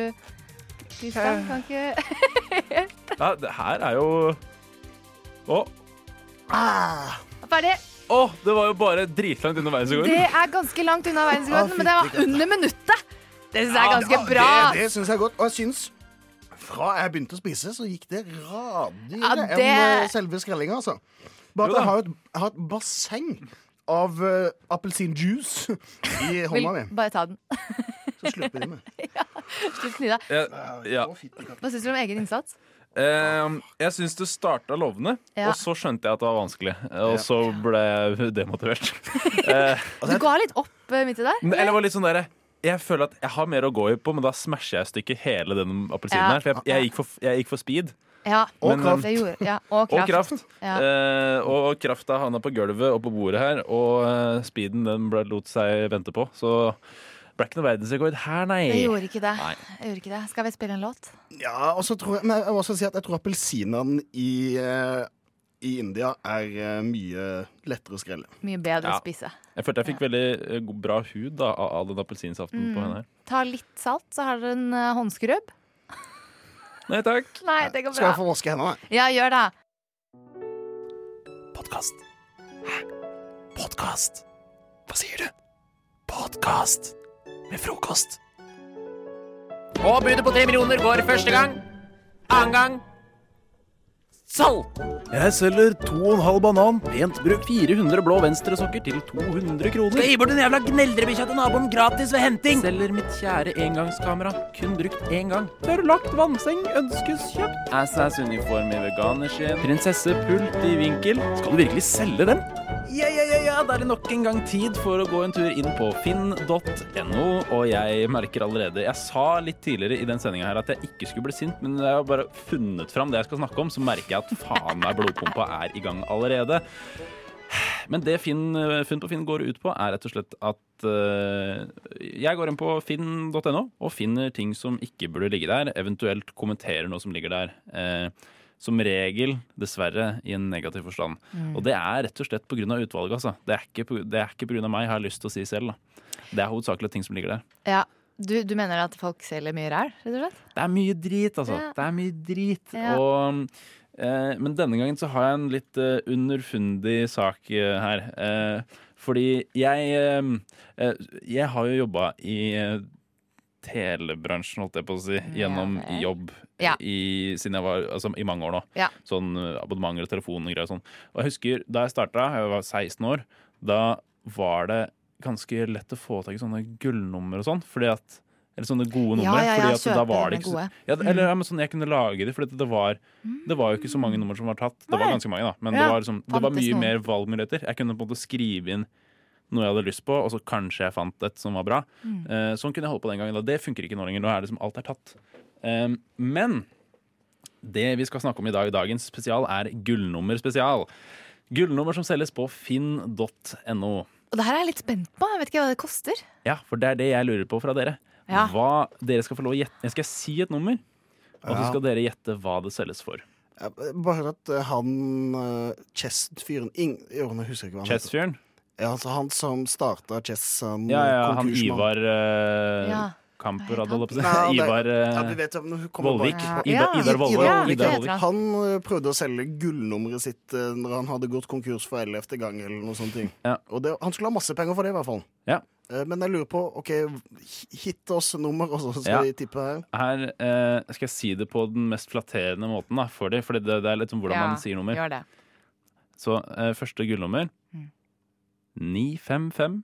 S31: Kristian? Kan ikke
S8: Ja, det her er jo Å,
S31: Ferdig.
S8: å, det var jo bare dritlangt unna
S31: Det
S8: verdensrekorden.
S31: er ganske langt unna
S33: Ah,
S8: Å,
S31: verdensrekorden, men det var
S33: fytti
S31: under minuttet. Det syns jeg er
S33: Ja,
S31: ganske
S33: ja,
S31: bra.
S33: Det, det syns jeg er godt. Og jeg syns fra jeg begynte å spise, så gikk det radigere
S31: Ja, det-
S33: enn eh, selve skrellinga, altså. Bare at
S31: Jo da.
S33: jeg har, et, jeg har et basseng av eh, appelsinjuice i hånda mi.
S31: Vil bare ta den.
S33: Så slurper de med.
S31: Slutt Nida.
S8: Ja, ja.
S31: Hva syns du om egen innsats?
S8: Ehm, jeg syns det starta lovende,
S31: Ja.
S8: og så skjønte jeg at det var vanskelig. Og så ble jeg demotivert. Eh,
S33: Altså,
S31: Du ga litt opp eh, midt i der.
S8: Eller det var litt sånn derre jeg føler at jeg har mer å gå i på, men da smasher jeg i stykker hele den appelsinen.
S31: Ja.
S8: her For jeg, jeg, gikk for, jeg gikk for speed.
S31: Ja,
S8: Og kraft.
S31: Det gjorde, ja,
S8: eh,
S31: og
S8: Og
S31: kraft.
S8: kraft.
S31: Ja.
S8: Eh, og krafta havna på gulvet og på bordet her, og eh, speeden den ble, lot seg vente på. Så ble ikke noe verdensrekord her, nei.
S31: Jeg gjorde ikke det.
S8: Nei.
S31: Jeg gjorde ikke det. Skal vi spille en låt?
S33: Ja, og så tror jeg Men jeg må også si at jeg tror appelsinene i, eh, i India er eh, mye lettere å skrelle.
S31: Mye bedre
S8: Ja.
S31: å spise.
S8: Jeg følte jeg fikk veldig eh, god- bra hud da, av- av den appelsinsaften på
S31: Mm.
S8: henne her.
S31: Ta litt salt, så har dere en eh, håndskrubb.
S8: Nei takk.
S31: Nei, det går
S33: Skal jeg
S31: bra.
S33: få vaske hendene?
S31: Ja, gjør det.
S34: Podkast. Hæ? Podkast? Hva sier du? Podkast med frokost.
S1: Og budet på tre millioner går første gang. Annen gang salg.
S5: Jeg selger 2,5 banan, pent bruk 400 blå venstresokker til 200 kroner.
S1: Skal gi bort den jævla gneldrebikkja til naboen gratis ved henting.
S5: Selger mitt kjære engangskamera, kun brukt én gang. Tørrlagt vannseng ønskes kjøpt.
S8: Assas-uniform i veganerskinn. Prinsessepult i vinkel. Skal du virkelig selge den? Ja, ja, ja, ja, da er det nok en gang tid for å gå en tur inn på finn.no. Og jeg merker allerede Jeg sa litt tidligere i den sendinga her at jeg ikke skulle bli sint, men når jeg har bare funnet fram det jeg skal snakke om, så merker jeg at faen meg blodpumpa er i gang allerede. Men det Finn, Funn på Finn går ut på, er rett og slett at eh, jeg går inn på finn.no og finner ting som ikke burde ligge der, eventuelt kommenterer noe som ligger der. Eh, som regel, dessverre, i en negativ forstand.
S5: Mm.
S8: Og det er rett og slett pga. utvalget, altså. Det er ikke på- det er ikke pga. meg, har jeg lyst til å si selv. da. Det er hovedsakelig ting som ligger der.
S31: Ja. Du, du mener at folk selger mye ræl, rett og slett?
S8: Det er mye drit, altså.
S31: Ja.
S8: Det er mye drit.
S31: Ja.
S8: Og, eh, men denne gangen så har jeg en litt eh, underfundig sak eh, her. Eh, fordi jeg eh, eh, Jeg har jo jobba i eh, telebransjen, holdt jeg på å si,
S31: Mm,
S8: gjennom jobb
S31: Ja.
S8: i, siden jeg var, altså, i mange år nå.
S31: Ja.
S8: Sånn eh, abonnementer og telefon og greier og sånn. Og jeg husker da jeg starta, jeg var 16 år, da var det ganske lett å få tak i sånne gullnummer og sånn. Fordi at eller sånne gode
S31: Ja,
S8: numre.
S31: ja, ja,
S8: fordi at da
S31: kjøpe
S8: var
S31: de
S8: det ikke så,
S31: gode.
S8: ja,
S31: Mm.
S8: eller ja, men sånn jeg kunne lage de, for det var, det var jo ikke så mange nummer som var tatt. Det var
S31: Nei.
S8: ganske mange, da, men
S31: Ja,
S8: det var, liksom, det var
S31: fantes
S8: mye
S31: noen.
S8: mer valgmuligheter. Jeg kunne på en måte skrive inn noe jeg hadde lyst på, og så kanskje jeg fant et som var bra.
S31: Mm.
S8: Eh, sånn kunne jeg holde på den gangen. Da. Det funker ikke nå lenger. Nå er det liksom alt er tatt. Em, men det vi skal snakke om i dag, dagens spesial, er gullnummer-spesial. Gullnummer som selges på finn.no.
S31: Og det her er jeg litt spent på. Jeg vet ikke hva det koster.
S8: Ja, for det er det jeg lurer på fra dere.
S31: Ja.
S8: Hva dere skal få lov å gjette. Jeg skal si et nummer, og så
S33: Ja.
S8: skal dere gjette hva det selges for.
S33: Eh, Bare at eh, han eh, Chess-fyren Ing- Jo, nå husker jeg ikke hva han heter.
S8: Chess-fyren?
S33: Ja, altså han som starta Chess, han
S8: Ja, ja, han
S33: konkursmannen.
S8: Ivar eh,
S33: Ja.
S8: Kamper hadde holdt på å
S33: Nei,
S8: si.
S33: det-
S8: Ivar eh,
S33: ja, du vet, om hun kommer
S8: Vollvik.
S33: bak.
S8: Ida- Idar Vollvik.
S33: Idar Vollvik,
S8: Idar
S33: ja.
S8: Vollvik.
S33: Han eh, prøvde å selge gullnummeret sitt eh, når han hadde gått konkurs for ellevte gang. eller noe sånt. ting. Og det, Han skulle ha masse penger for det, i hvert fall. Eh, Men jeg lurer på OK, hit oss nummer, og så skal
S8: Ja.
S33: vi tippe her.
S8: Her eh, skal jeg si det på den mest flatterende måten da, for dem, for det, det er litt om hvordan
S33: Ja,
S8: man sier nummer.
S33: gjør det. Mm.
S8: Så eh, første gullnummer 955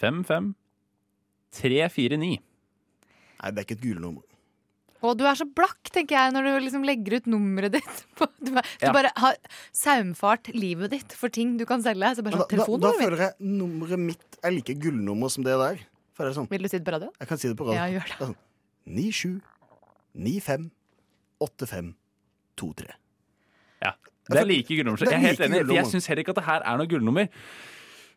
S8: 55 349.
S33: Nei, det er ikke et gullnummer.
S31: Og du er så blakk, tenker jeg, når du liksom legger ut nummeret ditt. På, du, bare-
S33: Ja.
S31: du bare har saumfart livet ditt for ting du kan selge. Så bare
S33: Da, da,
S31: sånn,
S33: da
S31: telefonnummeret mitt.
S33: føler jeg nummeret mitt er like gullnummer som det der. For det er sånn.
S31: Vil du si det på radio?
S33: Jeg kan si det på radio.
S31: Ja, gjør det.
S33: er sånn, 97 95 85 23.
S8: Ja. Det er like gullnummer. så
S33: Altså, Det er
S8: Jeg er
S33: like
S8: helt enig. for
S33: gullnummer.
S8: Jeg syns heller ikke at det her er noe gullnummer.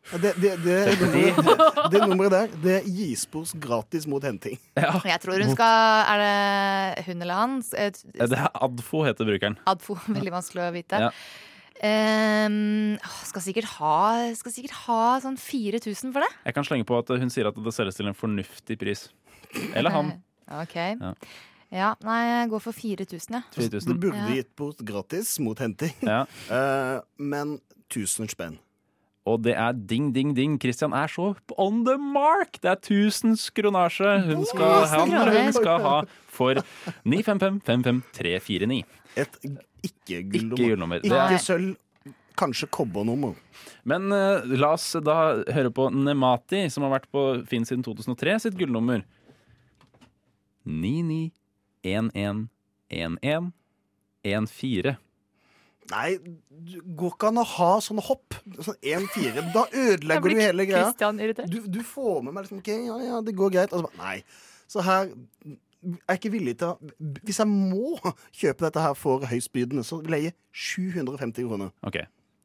S33: Ja, Det, det, det, nummeret, det nummeret der Det gis bort gratis mot henting.
S31: Jeg tror hun skal Er det hun eller han? Eh, S- et-
S8: Ja, Det er Adfo heter brukeren.
S31: Adfo. Veldig vanskelig å vite.
S8: Ja.
S31: Ehm, åh, skal, sikkert ha, skal sikkert ha sånn 4000 for det.
S8: Jeg kan slenge på at hun sier at det selges til en fornuftig pris. Eller han.
S31: Eh. Ok.
S8: Ja.
S31: Ja, nei, jeg går for 4000, jeg.
S33: Det burde
S31: Ja.
S33: gitt bort gratis mot henting, Eh, men 1000 spenn.
S8: Og det er ding, ding, ding. Christian er så on the mark! Det er 1000 skronasje hun skal,
S33: Tusen
S8: han, eller hun
S33: kroner.
S8: skal ha for 955-55349.
S33: Et ikke gullnummer.
S8: Ikke gullnummer. Det
S33: Ikke
S8: er-
S33: sølv, kanskje kobbernummer.
S8: Men eh, la oss da høre på Nemati, som har vært på Finn siden 2003, sitt gullnummer. 99111114.
S33: Nei, det går ikke an å ha sånne hopp. Sånn 1-4. Da ødelegger
S31: Jeg
S33: du
S31: blir
S33: hele greia.
S31: Christian irritert.
S33: Du, du får med meg liksom OK, ja, ja, det går greit. Og så bare, nei. Så her er jeg ikke villig til å Hvis jeg må kjøpe dette her for høystbydende, så vil jeg gi 750 kroner.
S8: Ok.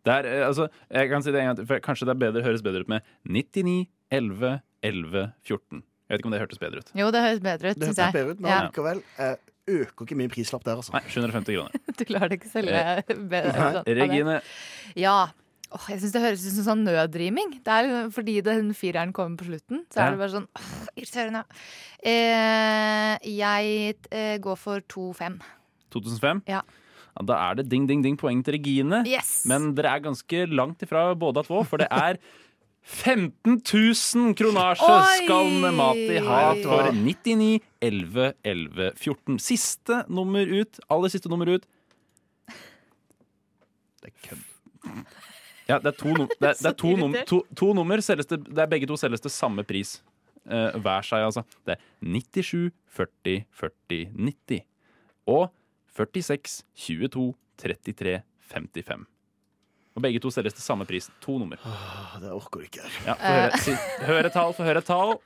S8: Det er, eh, altså, jeg kan si det en gang til, for kanskje det er bedre, høres bedre ut med 99 11 11 14. Jeg vet ikke om det hørtes bedre ut.
S31: Jo, det høres bedre ut,
S33: Det
S31: syns
S33: høres
S31: jeg.
S33: bedre ut, men
S31: Ja.
S33: likevel eh, øker ikke min prislapp der, altså.
S8: Nei, 750 kroner.
S31: Du lar det ikke selge bedre.
S33: Nei,
S31: av det.
S8: Regine.
S31: Ja. Åh, jeg syns det høres ut som sånn nødriming. Det er liksom fordi den fireren kommer på slutten, så
S8: Ja.
S31: er det bare sånn åh, irriterende. Eh, jeg eh, går for 2-5.
S8: 2005?
S31: Ja.
S8: Ja, Da er det ding, ding, ding poeng til Regine.
S31: Yes!
S8: Men dere er ganske langt ifra både at vå, for det er 15 000 kronasje
S1: Oi!
S8: skal Mati ha
S1: Vet du hva?
S8: for 99 11 11 14. Siste nummer ut. Aller siste nummer ut. Det er kødd. Ja, det er to, num det er, det er to, num to, to nummer. Selges det, det er begge to selges til samme pris. Eh, hver seg, altså. Det er 97 40 40 90. Og 46 22 33 55. Og begge to selges til samme pris. To nummer.
S33: Ah, Det orker du ikke.
S8: Ja, få høre, si, hør et tall, få høre et tall.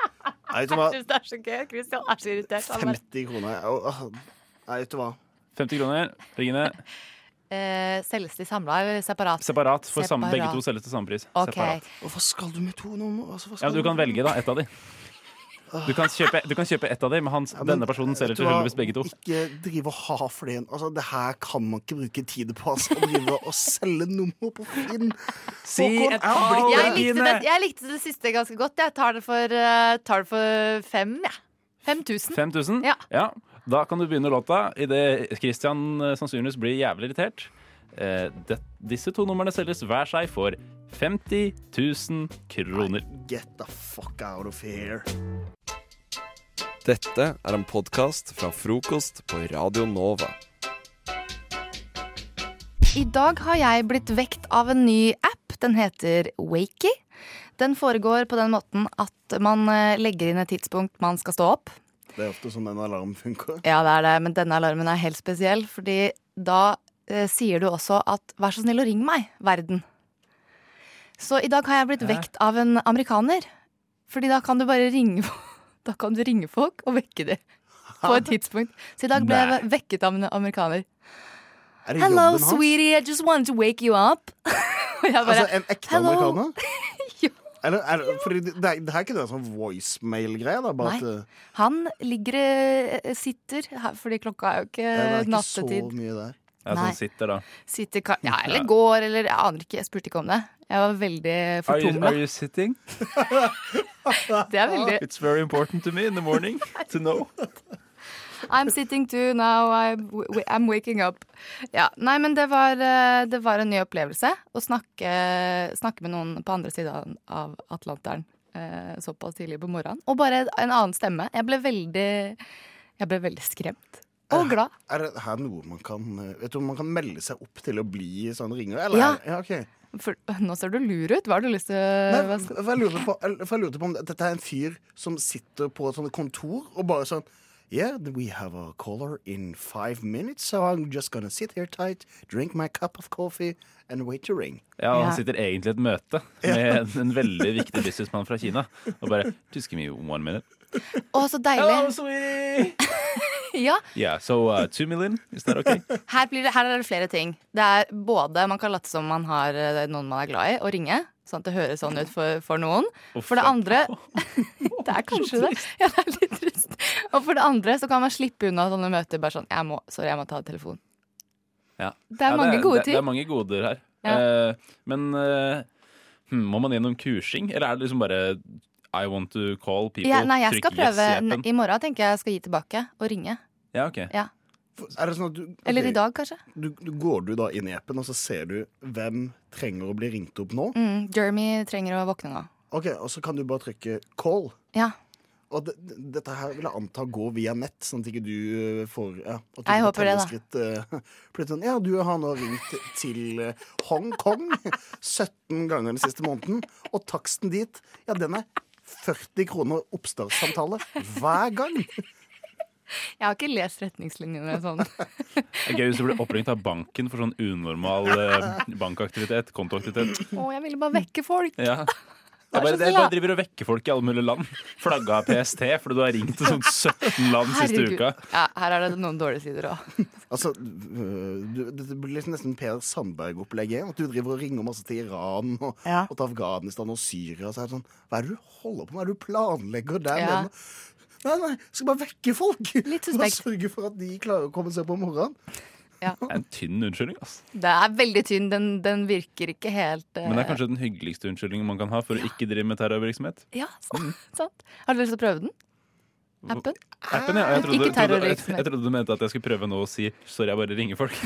S33: Nei, vet du
S31: Jeg
S33: hva?
S31: syns det er så gøy. Christian er så irritert. Han bare,
S33: 50 kroner. Au, ah. Nei, vet du hva.
S8: 50 kroner. Regine,
S31: eh, selges de samla eller separat?
S8: separat. For samme, begge
S31: Separat.
S8: to selges til samme pris.
S31: Ok.
S8: Separat.
S33: Hva skal du med to nummer? Altså, hva
S8: Ja,
S33: skal
S8: men du kan
S33: med-
S8: velge da, ett av de. Du kan kjøpe, du kan kjøpe ett av de, men han, denne personen selger
S33: Vet du hva?
S8: tilfeldigvis begge to.
S33: Ikke drive og ha flere altså, Det her kan man ikke bruke tid på. Altså, å drive og selge nummer på Finn.
S8: Si et
S33: jeg blir-
S8: tall,
S31: Jeg likte, det, jeg likte det siste ganske godt. Jeg tar det for, eh, tar det for fem, jeg. Ja. 5000.
S8: 5000?
S31: Ja.
S8: Ja. Da kan du begynne låta idet Christian eh, sannsynligvis blir jævlig irritert. Eh, det, disse to numrene selges hver seg for 50 000 kroner.
S33: Get the fuck out of here.
S32: Dette er en podkast fra frokost på Radio Nova.
S31: I dag har jeg blitt vekt av en ny app. Den heter Wakey. Den foregår på den måten at man eh, legger inn et tidspunkt man skal stå opp.
S33: Det er ofte sånn en alarm funker.
S31: Ja, det er det, men denne alarmen er helt spesiell, fordi da eh, sier du også at 'vær så snill å ring meg, verden'. Så i dag har jeg blitt
S1: Hæ?
S31: vekt av en amerikaner. Fordi da kan du bare ringe Da kan du ringe folk og vekke dem på et tidspunkt. Så i dag ble jeg vekket av en amerikaner.
S33: Er det
S31: Hello,
S33: jobben hans?
S31: sweetie, I just wanted to wake you up. og jeg bare
S33: Altså en ekte
S31: «Hello».
S33: amerikaner? Eller, er, det- fordi det, det er- det her er ikke det sånn voicemail-greie? da, bare
S31: Nei.
S33: at, eh,
S31: Han ligger eh, sitter her, fordi klokka er jo ikke
S33: det er ikke så
S31: Eh, nattetid.
S33: mye der.
S8: Jeg
S31: Nei.
S8: som sitter da.
S31: Sitter ka Ja, eller
S8: Ja.
S31: går, eller Jeg aner ikke. Jeg spurte ikke om det. Jeg var veldig
S8: Are you,
S31: fortumla.
S8: are you sitting?
S31: Det er veldig
S8: It's very important to me in the morning to know.
S31: I'm sitting too now, I'm, w- I'm waking up. Ja, nei, men det var, eh, det var en ny opplevelse å snakke, snakke med noen på andre siden av Atlanteren eh, såpass tidlig på morgenen. Og bare en annen stemme. Jeg ble veldig, jeg ble veldig skremt. Og glad.
S33: Er det her noe man kan eh, Vet du om man kan melde seg opp til å bli sånn ringer? Eller?
S31: Ja.
S33: er det- ja ok.
S31: For, nå ser du lur ut. Hva har du lyst til
S33: Nei,
S31: hva
S33: for jeg lurte på, for jeg lurte på om dette er en fyr som sitter på et sånt kontor og bare sånn Yeah, we have a caller in five minutes, so I'm just gonna sit here tight, drink my cup of coffee and wait to ring.
S8: Ja, og han sitter egentlig i et møte med en, en veldig viktig businessmann fra Kina. Og bare Just give me one minute.
S31: Å, så deilig.
S8: Hello, sweetie!
S31: ja,
S8: Yeah, so uh, two million, is that okay?
S31: her, blir det, her er det flere ting. Det er både Man kan late som man har eh, noen man er glad i, og ringe. Sånn at det høres sånn ut for, for noen.
S8: Uff,
S31: For det andre Det er kanskje det. Ja, det er litt trist. Og for det andre så kan man slippe unna sånne møter bare sånn jeg må, 'Sorry, jeg må ta telefonen'.
S8: Ja.
S31: Det er mange
S8: det,
S31: gode
S8: det
S31: ting.
S8: er mange goder her.
S31: Ja.
S8: Eh, men eh, hm, må man gjennom kursing, eller er det liksom bare I want to call people?
S31: Ja, nei, jeg skal
S8: trykk
S31: prøve
S8: yes i
S31: n-
S8: appen?
S31: I morgen tenker jeg jeg skal gi tilbake og ringe.
S8: Ja, ok.
S31: Ja.
S33: Er det sånn at du, ok,
S31: Eller i dag, kanskje.
S33: Du, du går du da inn i appen, og så ser du hvem trenger å bli ringt opp nå?
S31: Mm, Jeremy trenger å våkne nå.
S33: Ok, Og så kan du bare trykke call.
S31: Ja.
S33: Og det- det- dette her vil jeg anta går via nett, sånn at ikke du eh, får ja, at du
S31: Jeg
S33: ikke
S31: håper det, da.
S33: teller skritt, eh, blir sånn, ja, du har nå ringt til eh, Hongkong 17 ganger den siste måneden, og taksten dit, ja, den er 40 kroner oppstartssamtale hver gang.
S31: Jeg har ikke lest retningslinjene sånn.
S8: Det er gøy hvis du blir oppringt av banken for sånn unormal eh, bankaktivitet, kontoaktivitet.
S31: Å, jeg ville bare vekke folk.
S8: Ja. Jeg bare, jeg bare driver og vekker folk i alle mulige land. Flagga av PST fordi du har ringt til sånn 17 land siste
S31: Herregud.
S8: uka.
S31: Ja, her er det noen dårlige sider òg.
S33: Altså, øh, du, Det blir liksom nesten Per Sandberg-opplegget. At du driver og ringer masse til Iran og,
S31: Ja.
S33: og til Afghanistan og Syria. Så er det sånn, Hva er det du holder på med? Hva er det du planlegger der
S31: Ja.
S33: nede? Nei, nei, skal bare vekke folk!
S31: Litt
S33: Bare
S31: suspekt.
S33: sørge for at de klarer å komme seg på morgenen.
S8: Det er en tynn unnskyldning, ass.
S31: Det er veldig tynn. Den, den virker ikke helt eh,
S8: Men det er kanskje den hyggeligste unnskyldningen man kan ha for å ikke drive med terrorvirksomhet.
S31: Ja, så, sant. Har du lyst til å prøve den? Appen?
S8: Appen, ja. Jeg trodde,
S31: Ikke
S8: trodde, jeg,
S31: terrorvirksomhet.
S8: trodde du mente at jeg skulle prøve nå å si 'sorry, jeg bare ringer folk'.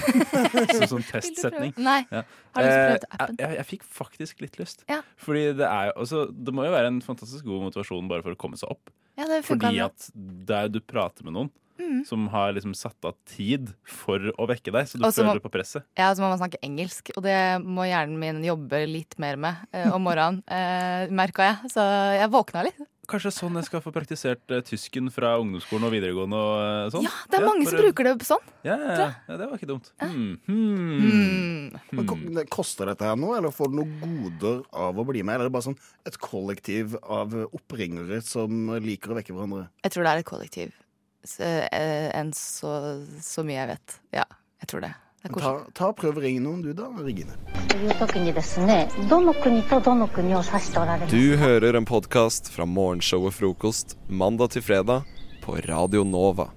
S8: Som sånn testsetning.
S31: Nei.
S8: Ja.
S31: Har du lyst til å
S8: Eh,
S31: prøve appen?
S8: Jeg, jeg fikk faktisk litt lyst.
S31: Ja.
S8: Fordi det er jo altså, Det må jo være en fantastisk god motivasjon bare for å komme seg opp.
S31: Ja, det funker
S8: Fordi
S31: bra.
S8: at det er jo du prater med noen
S31: Mm.
S8: som har liksom satt av tid for å vekke deg, så du
S31: Og så må-
S8: føler på presset.
S31: Ja, så må man snakke engelsk, og det må hjernen min jobbe litt mer med eh, om morgenen, uh, merka jeg. Så jeg våkna litt.
S8: Kanskje sånn jeg skal få praktisert eh, tysken fra ungdomsskolen og videregående og eh, sånn.
S31: Ja, det er mange som bruker det sånn.
S8: Ja, ja, ja. ja, det var ikke dumt. Hmm. Hmm.
S33: Men ko- det- Koster dette her noe, eller får du noen goder av å bli med? Eller er det bare sånn et kollektiv av oppringere som liker å vekke hverandre?
S31: Jeg tror det er et kollektiv. Så, eh, enn så, så mye jeg vet. Ja, jeg tror det. Det er
S33: Ta,
S31: koselig.
S33: ta og Prøv å ringe noen, du, da. Regine.
S18: という時にですねどの国とどの国を指しておられます
S32: Du hører en podkast fra morgenshowet Frokost mandag til fredag på Radio Nova.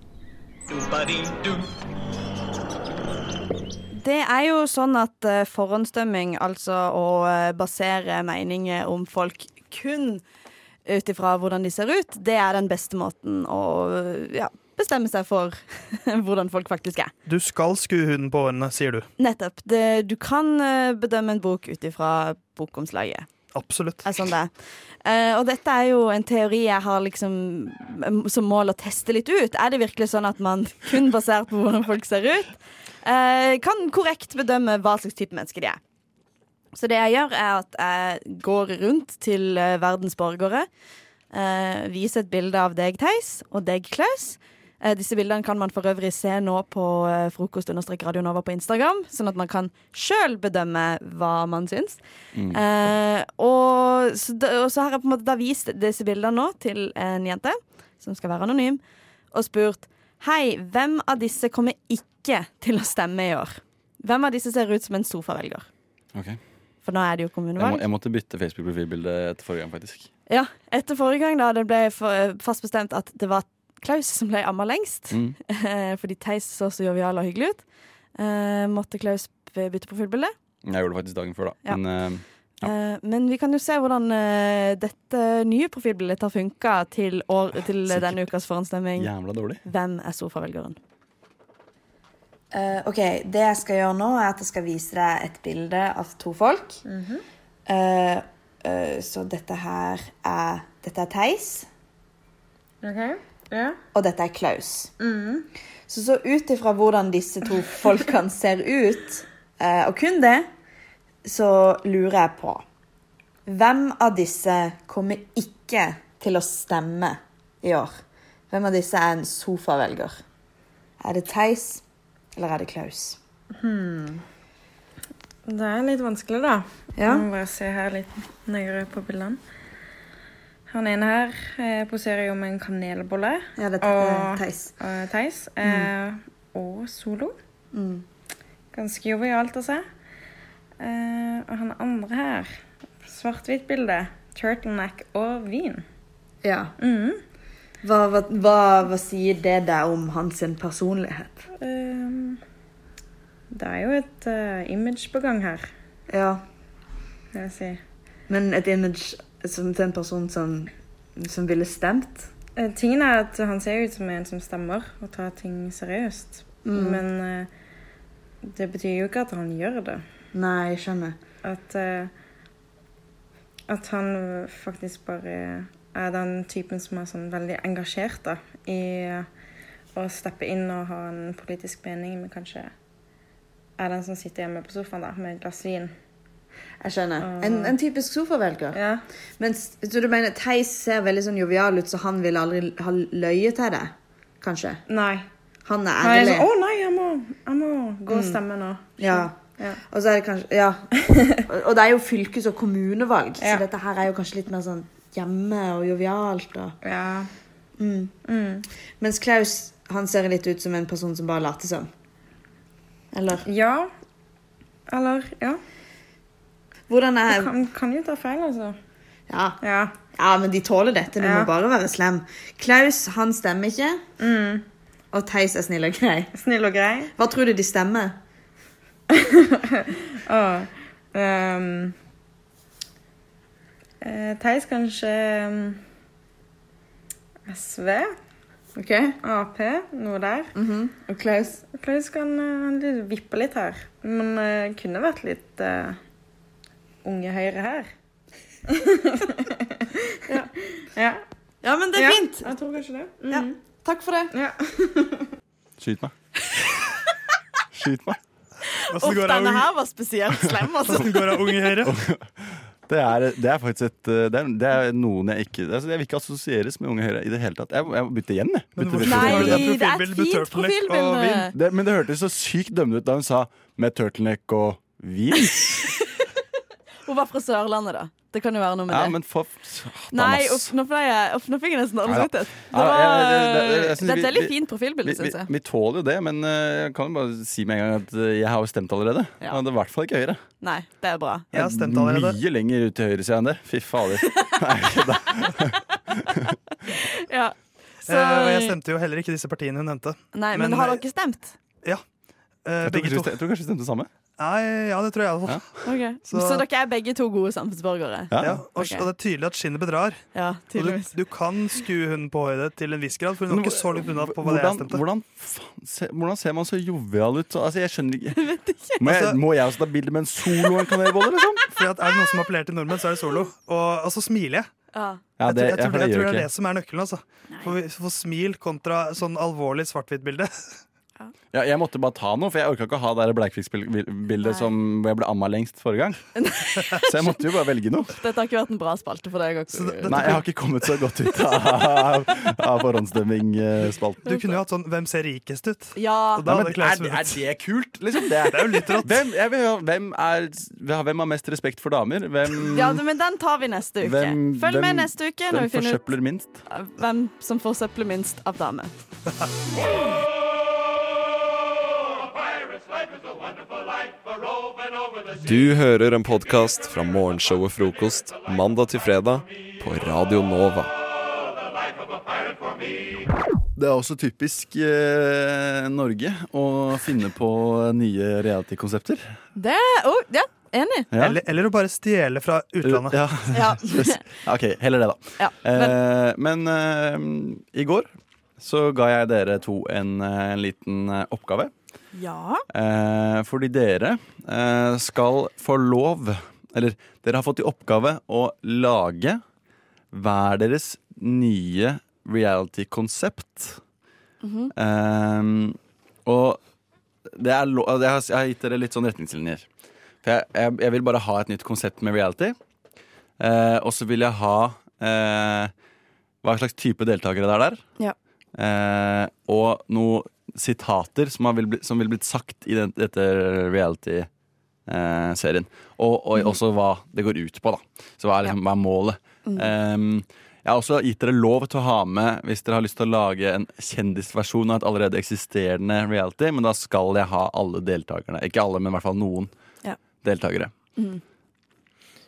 S11: Det er jo sånn at eh, forhåndsdømming, altså å eh, basere meninger om folk kun ut ifra hvordan de ser ut, det er den beste måten å eh, ja, bestemme seg for hvordan folk faktisk er.
S14: Du skal skue huden på årene, sier du.
S11: Nettopp. Det, du kan eh, bedømme en bok ut ifra bokomslaget.
S14: Absolutt.
S11: Er sånn det er. Eh, og dette er jo en teori jeg har liksom eh, som mål å teste litt ut. Er det virkelig sånn at man kun basert på hvordan folk ser ut, eh, kan korrekt bedømme hva slags type menneske de er? Så det jeg gjør, er at jeg går rundt til eh, verdens borgere, eh, viser et bilde av deg, Theis, og deg, Klaus. Eh, disse bildene kan man for øvrig se nå på eh, frokost-radionova på Instagram, sånn at man kan sjøl bedømme hva man syns.
S6: Mm.
S11: Eh, og, så da, og så har jeg på en måte da vist disse bildene nå til en jente, som skal være anonym, og spurt Hei, hvem av disse kommer ikke til å stemme i år? Hvem av disse ser ut som en sofavelger?
S9: Ok.
S11: For nå er det jo
S9: Jeg, må,
S11: kommunevalg.
S9: jeg måtte bytte Facebook-profilbilde etter forrige gang, faktisk.
S11: Ja, Etter forrige gang, da det ble for- eh, fast bestemt at det var Klaus som ble amma lengst,
S9: Mm.
S11: eh, fordi Theis så så jovial og hyggelig ut, eh, måtte Klaus b- bytte profilbilde.
S9: Jeg gjorde det faktisk dagen før, da.
S11: Ja.
S9: Men eh,
S11: Eh, men vi kan jo se hvordan eh, dette nye profilbildet har funka til, år, til denne ukas forhåndsstemming.
S9: jævla dårlig.
S11: Hvem er sofavelgeren?
S10: Eh, OK, det jeg skal gjøre nå, er at jeg skal vise deg et bilde av to folk.
S11: Mhm.
S10: Eh, eh, så dette her er Dette er Theis, OK. Ja. og dette er Klaus. Så så ut ifra hvordan disse to folkene ser ut, eh, og kun det, så lurer jeg på Hvem av disse kommer ikke til å stemme i år? Hvem av disse er en sofavelger? Er det Theis, eller er det Klaus? Hmm. Det er litt vanskelig, da. Ja. Jeg må bare se her litt nøyere på bildene. Han ene her eh, poserer jo med en kanelbolle. Ja, det er og- Theis. Og Theis. Mm. Eh, og Solo. Ganske jovialt å se. Eh, og han andre her, svart-hvitt bilde, turtleneck og vin. Ja. Mhm. Hva, hva, hva, hva sier det deg om hans personlighet? Ehm, det er jo et eh, image på gang her. Ja. Vil jeg si. Men et image som, til en person som, som ville stemt? Eh, tingen er at han ser ut som en som stemmer og tar ting seriøst. Mm. Men eh, det betyr jo ikke at han gjør det. Nei, jeg skjønner. At, eh, at han faktisk bare er den typen som er sånn veldig engasjert da, i eh, å steppe inn og ha en politisk mening, men kanskje er den som sitter hjemme på sofaen da, med et glass vin. Jeg skjønner. En, en typisk sofavelger. Mens, så du mener Theis ser veldig sånn jovial ut, så han vil aldri ha løyet til deg? Kanskje? Nei. Han er Han er ærlig. sånn, å nei, jeg må, jeg må gå og Mm. stemme nå. Ja. Ja. Og så er det kanskje Ja. Og og det er jo fylkes- og kommunevalg, Ja. så dette her er jo kanskje litt mer sånn hjemme og jovialt. Og... Ja. Mm. Mens Klaus, han ser litt ut som en person som bare later som. Eller? Ja. Eller Ja. Hvordan er Du kan, kan jo ta feil, altså. Ja. ja. men de tåler dette. Du Ja. må bare være slem. Klaus, han stemmer ikke. Mm. Og Theis er snill og grei. Snill og grei. Hva tror du de stemmer? Å, Ah, ehm, eh, Theis kanskje ehm, SV. Ap, noe der. Og Klaus? Klaus kan eh, han litt- vippe litt her. Men eh, kunne vært litt eh, Unge Høyre her. ja. ja. men det er fint. Jeg tror kanskje det. Mhm. Ja. Takk for det.
S9: Skyt meg. Skyt meg.
S11: Uff, denne her var spesielt slem, altså.
S9: Det er, det er faktisk et eh, det er, det er noen jeg ikke altså, Jeg vil ikke assosieres med Unge Høyre i det hele tatt. Jeg, jeg må bytte igjen, jeg. Bytte
S11: hvorfor
S9: profilbilde.
S11: har du det Nei, det er et profilbildet med fint turtleneck og profilbilde. vin?
S9: Det, men det hørtes så sykt dømmende ut da hun sa 'med turtleneck og vin'.
S11: Hun var fra Sørlandet, da. Det kan jo være noe med
S9: Ja,
S11: Sånn det.
S9: men for
S11: Nei, uff, nå ble jeg, uff, nå fikk jeg nesten dårlig
S9: Neida.
S11: samvittighet. Det
S9: Ja, ja, ja, det- det-
S11: var-
S9: jeg
S11: Det
S9: synes
S11: er et
S9: vi-
S11: veldig
S9: vi-
S11: fint profilbilde,
S9: vi,
S11: syns
S9: vi,
S11: jeg.
S9: vi tåler jo det, men eh, jeg kan jo bare si med en gang at eh, jeg har jo stemt allerede.
S11: Ja.
S9: Og det er i hvert fall ikke Høyre.
S11: Nei, det er bra.
S9: Det er
S14: Mm.
S9: Mye lenger ut til høyresida enn det. Fy fader.
S11: Ja. Så,
S14: Eh, og jeg stemte jo heller ikke disse partiene hun nevnte.
S11: nei, men, har dere stemt?
S14: eh,
S9: Jeg tror
S14: begge
S9: kanskje
S14: to.
S9: vi stem- jeg tror kanskje vi stemte det samme.
S14: Nei, ja, det tror jeg iallfall.
S11: Ok. Så,
S14: Så-
S11: dere er begge to gode samfunnsborgere?
S14: Ja. Ja, og,
S11: Ok.
S14: og det er tydelig at skinnet bedrar.
S11: Ja,
S14: og du,
S11: tydeligvis.
S14: du kan skue hunden på høyde til en viss grad, for hun var ikke så langt unna på hva det jeg
S9: Hvordan,
S14: stemte.
S9: hvordan, faen se, hvordan ser man så jovial ut? Altså, jeg skjønner ikke. Må jeg,
S14: Altså-
S9: må jeg også ta bilde med en solo og en kanelbolle, liksom?
S14: Fordi at Er det noen som appellerer til nordmenn, så er det solo. Og, og så smiler jeg.
S9: Ja, det-
S14: jeg, tror, jeg,
S9: ja,
S14: tror,
S9: for
S14: det-
S9: det
S14: jeg
S9: gjør
S14: tror
S9: ikke
S14: det er
S9: jeg.
S14: det som er nøkkelen. altså for, vi- for smil kontra sånn alvorlig svart-hvitt-bilde.
S9: Ja, jeg måtte bare ta noe, for jeg orka ikke å ha det der Bleikvik-bildet som hvor jeg ble amma lengst forrige gang. Så jeg måtte jo bare velge noe.
S11: Dette har ikke vært en bra spalte for deg. Også.
S9: Nei, jeg har ikke kommet så godt ut av, av forhåndsstemming-spalten.
S14: Du kunne jo hatt sånn 'Hvem ser rikest ut?'
S11: Mm. Ja.
S14: Og da
S9: Nei,
S14: hadde
S9: men
S14: Klaus
S9: er, er
S14: vunnet.
S9: det kult? Liksom det.
S14: Det er jo litt rått.
S9: Hvem, jeg vil ha- hvem, er, hvem har mest respekt for damer? Hvem,
S11: Ja, men den tar vi neste uke.
S9: Hvem-
S11: Følg
S9: hvem-
S11: med neste uke når
S9: hvem
S11: vi finner ut
S9: forsøpler minst?
S11: hvem som forsøpler minst av damer.
S32: Du hører en podkast fra morgenshowet Frokost mandag til fredag på Radio Nova.
S9: Det er også typisk eh, Norge å finne på nye reality-konsepter.
S11: Det oh, Ja, enig.
S9: Ja.
S14: Eller, eller å bare stjele fra utlandet.
S9: Ja.
S11: Ja.
S9: Yes. OK, heller det, da.
S11: Ja,
S9: Eh, men eh, i går så ga jeg dere to en, eh, en liten eh, oppgave.
S11: Ja.
S9: Eh, fordi dere eh, skal få lov Eller dere har fått i oppgave å lage hver deres nye reality-konsept.
S11: Mhm.
S9: Ehm, og det er lo altså, jeg, har, jeg har gitt dere litt sånn retningslinjer. For jeg, jeg, jeg vil bare ha et nytt konsept med reality. Eh, og så vil jeg ha eh, hva slags type deltakere det er der.
S11: Ja.
S9: Eh, og noen sitater som har vil bli, som vil blitt sagt i den, dette reality-serien. og og også hva det går ut på. da Så hva er, liksom, hva er målet?
S6: Mm.
S9: Ehm, jeg har også gitt dere lov til å ha med hvis dere har lyst til å lage en kjendisversjon av et allerede eksisterende reality, men da skal jeg ha alle deltakerne. Ikke alle, men i hvert fall noen
S11: Ja.
S9: deltakere.
S11: Mm.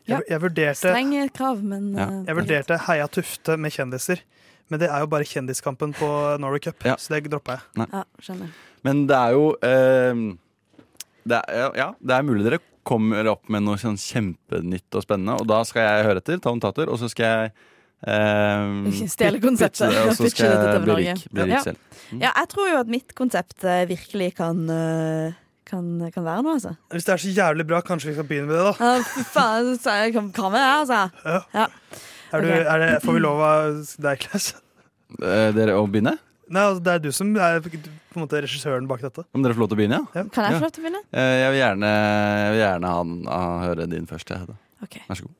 S14: Jeg, jeg vurderte
S11: Strenge krav, men eh,
S14: Jeg vurderte Heia Tufte med kjendiser, men det er jo bare Kjendiskampen på Norway Cup, så det droppa jeg.
S9: Nei.
S11: Ja, skjønner.
S9: Men det er jo ehm, det er, ja, det er mulig dere kommer opp med noe sånn kjempenytt og spennende, og da skal jeg høre etter, ta notater, og så skal jeg ehm,
S11: Stjele
S9: pitche det,
S11: konseptet.
S9: Og så
S11: Pitche
S9: skal
S11: dette til
S9: jeg bli
S11: Norge.
S9: rik, bli rik
S11: Ja.
S9: selv. Mm.
S11: Ja, jeg tror jo at mitt konsept eh, virkelig kan, eh, kan, kan være noe, altså.
S14: Hvis det er så jævlig bra, kanskje vi skal begynne med det, da.
S11: Ja, Fy faen, så jeg kan kan være det, altså. Ja.
S14: Er du,
S11: Ok.
S14: er det, får vi lov av deg, Klaus?
S9: Eh, dere å begynne?
S14: Nei, altså, det er du som er på en måte regissøren bak dette.
S9: Om dere får lov til å begynne, ja?
S11: Kan jeg
S9: Ja.
S11: få lov til å begynne?
S9: Eh, Jeg vil gjerne, jeg vil gjerne ha, den- ha, høre din først. jeg, Hedda.
S11: Ok.
S9: Vær så god.